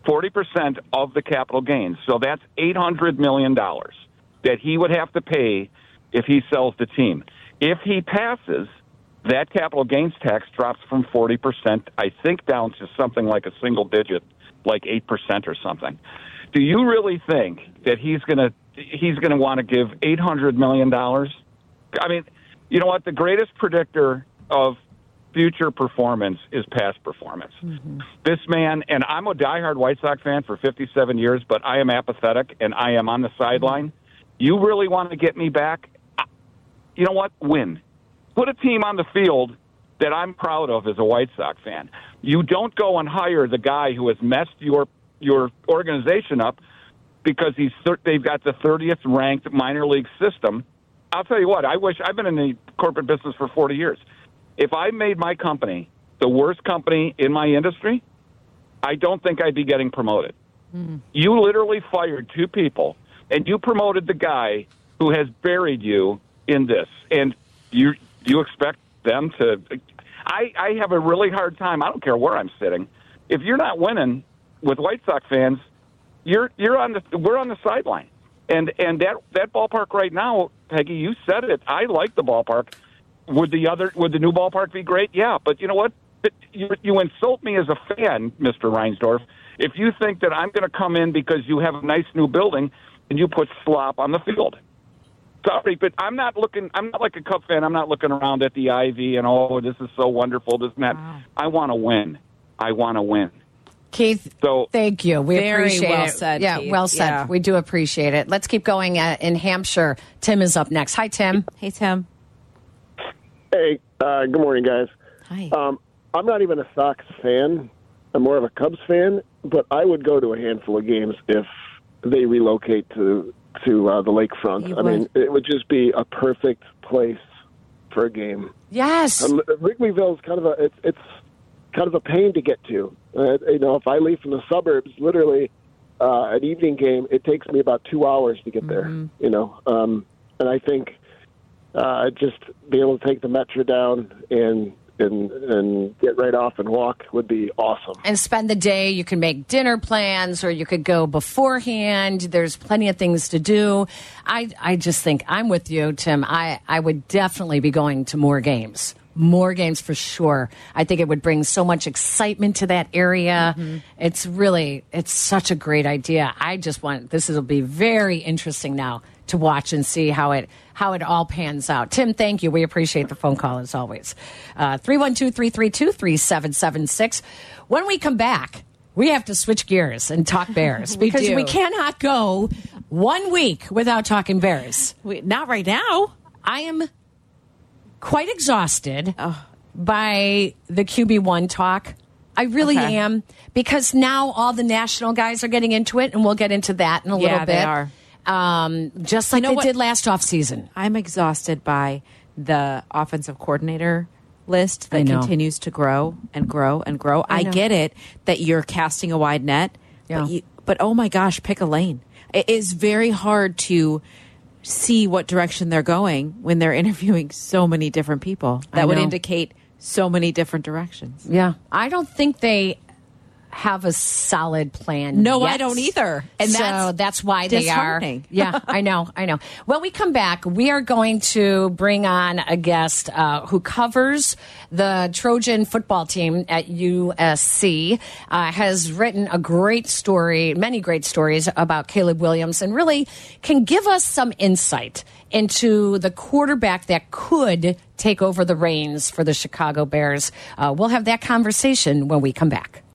Speaker 13: forty percent of the capital gains. So that's eight hundred million dollars that he would have to pay if he sells the team. If he passes, That capital gains tax drops from 40%, I think, down to something like a single digit, like 8% or something. Do you really think that he's going to he's going to want to give 800 million dollars? I mean, you know what? The greatest predictor of future performance is past performance. This man, and I'm a diehard White Sox fan for 57 years, but I am apathetic and I am on the sideline. You really want to get me back? I- You know what? Win. Put a team on the field that I'm proud of as a White Sox fan. You don't go and hire the guy who has messed your your organization up because he's thir- they've got the 30th ranked minor league system. I'll tell you what. I wish I've been in the corporate business for 40 years. If I made my company the worst company in my industry, I don't think I'd be getting promoted. You literally fired two people and you promoted the guy who has buried you in this. And you you expect them to I, I have a really hard time. I don't care where I'm sitting. If you're not winning with White Sox fans, you're you're on the we're on the sideline. And and that that ballpark right now, Peggy, you said it. I like the ballpark. Would the other would the new ballpark be great? Yeah, but you know what? You, you insult me as a fan, Mr. Reinsdorf, if you think that I'm going to come in because you have a nice new building and you put slop on the field. Sorry, but I'm not looking. I'm not like a Cub fan. I'm not looking around at the Ivy and oh, this is so wonderful. This and that. I want to win. I want to win.
Speaker 4: Keith,
Speaker 13: So
Speaker 4: thank you. We
Speaker 5: Very
Speaker 4: appreciate
Speaker 5: well
Speaker 4: it.
Speaker 5: said,
Speaker 4: Yeah,
Speaker 5: Keith.
Speaker 4: well said.
Speaker 5: Yeah.
Speaker 4: We do appreciate it. Let's keep going uh, in Hampshire. Tim is up next. Hi, Tim. Hey, Tim.
Speaker 16: Hey, uh, good morning, guys. Hi.
Speaker 4: Uh,
Speaker 16: Um, I'm not even a Sox fan. I'm more of a Cubs fan, but I would go to a handful of games if they relocate to to uh, the lakefront.
Speaker 4: You
Speaker 16: I mean, it would just be a perfect place for a game.
Speaker 4: Yes.
Speaker 16: Um, Wrigleyville's kind of a it's it's kind of a pain to get to. Uh, you know, if I leave from the suburbs, literally uh, an evening game, it takes me about two hours to get there. You know, um, and I think uh, just being able to take the metro down and and and get right off and walk would be awesome.
Speaker 4: And spend the day. You can make dinner plans or you could go beforehand. There's plenty of things to do. I, I just think I'm with you, Tim. I, I would definitely be going to more games. More games for sure. I think it would bring so much excitement to that area. It's really, it's such a great idea. I just want this will be very interesting now to watch and see how it how it all pans out. Tim, thank you. We appreciate the phone call as always. Uh, Three one two three three two three seven seven six. When we come back, we have to switch gears and talk bears
Speaker 3: We
Speaker 4: because
Speaker 3: do.
Speaker 4: we cannot go one week without talking bears. not right now. I am quite exhausted by the QB1 talk. I really
Speaker 5: Okay.
Speaker 4: am because now all the national guys are getting into it, and we'll get into that in a
Speaker 5: Yeah,
Speaker 4: little bit.
Speaker 5: they are.
Speaker 4: Um, just like
Speaker 5: You know
Speaker 4: they
Speaker 5: what?
Speaker 4: did last offseason.
Speaker 5: I'm exhausted by the offensive coordinator list
Speaker 4: I
Speaker 5: that
Speaker 4: know.
Speaker 5: continues to grow and grow and grow.
Speaker 4: I
Speaker 5: I,
Speaker 4: know.
Speaker 5: get it that you're casting a wide net,
Speaker 4: Yeah.
Speaker 5: but, you, but oh my gosh, pick a lane. It is very hard to see what direction they're going when they're interviewing so many different people.
Speaker 4: I
Speaker 5: That would
Speaker 4: know.
Speaker 5: indicate so many different directions.
Speaker 4: Yeah. I don't think they have a solid plan.
Speaker 5: No,
Speaker 4: yet.
Speaker 5: I don't either.
Speaker 4: And
Speaker 5: And
Speaker 4: so that's,
Speaker 5: that's
Speaker 4: why they are.
Speaker 5: disheartening.
Speaker 4: Yeah, I know. I know. When we come back, we are going to bring on a guest uh, who covers the Trojan football team at USC, uh, has written a great story, many great stories about Caleb Williams, and really can give us some insight into the quarterback that could take over the reins for the Chicago Bears. Uh, we'll have that conversation when we come back.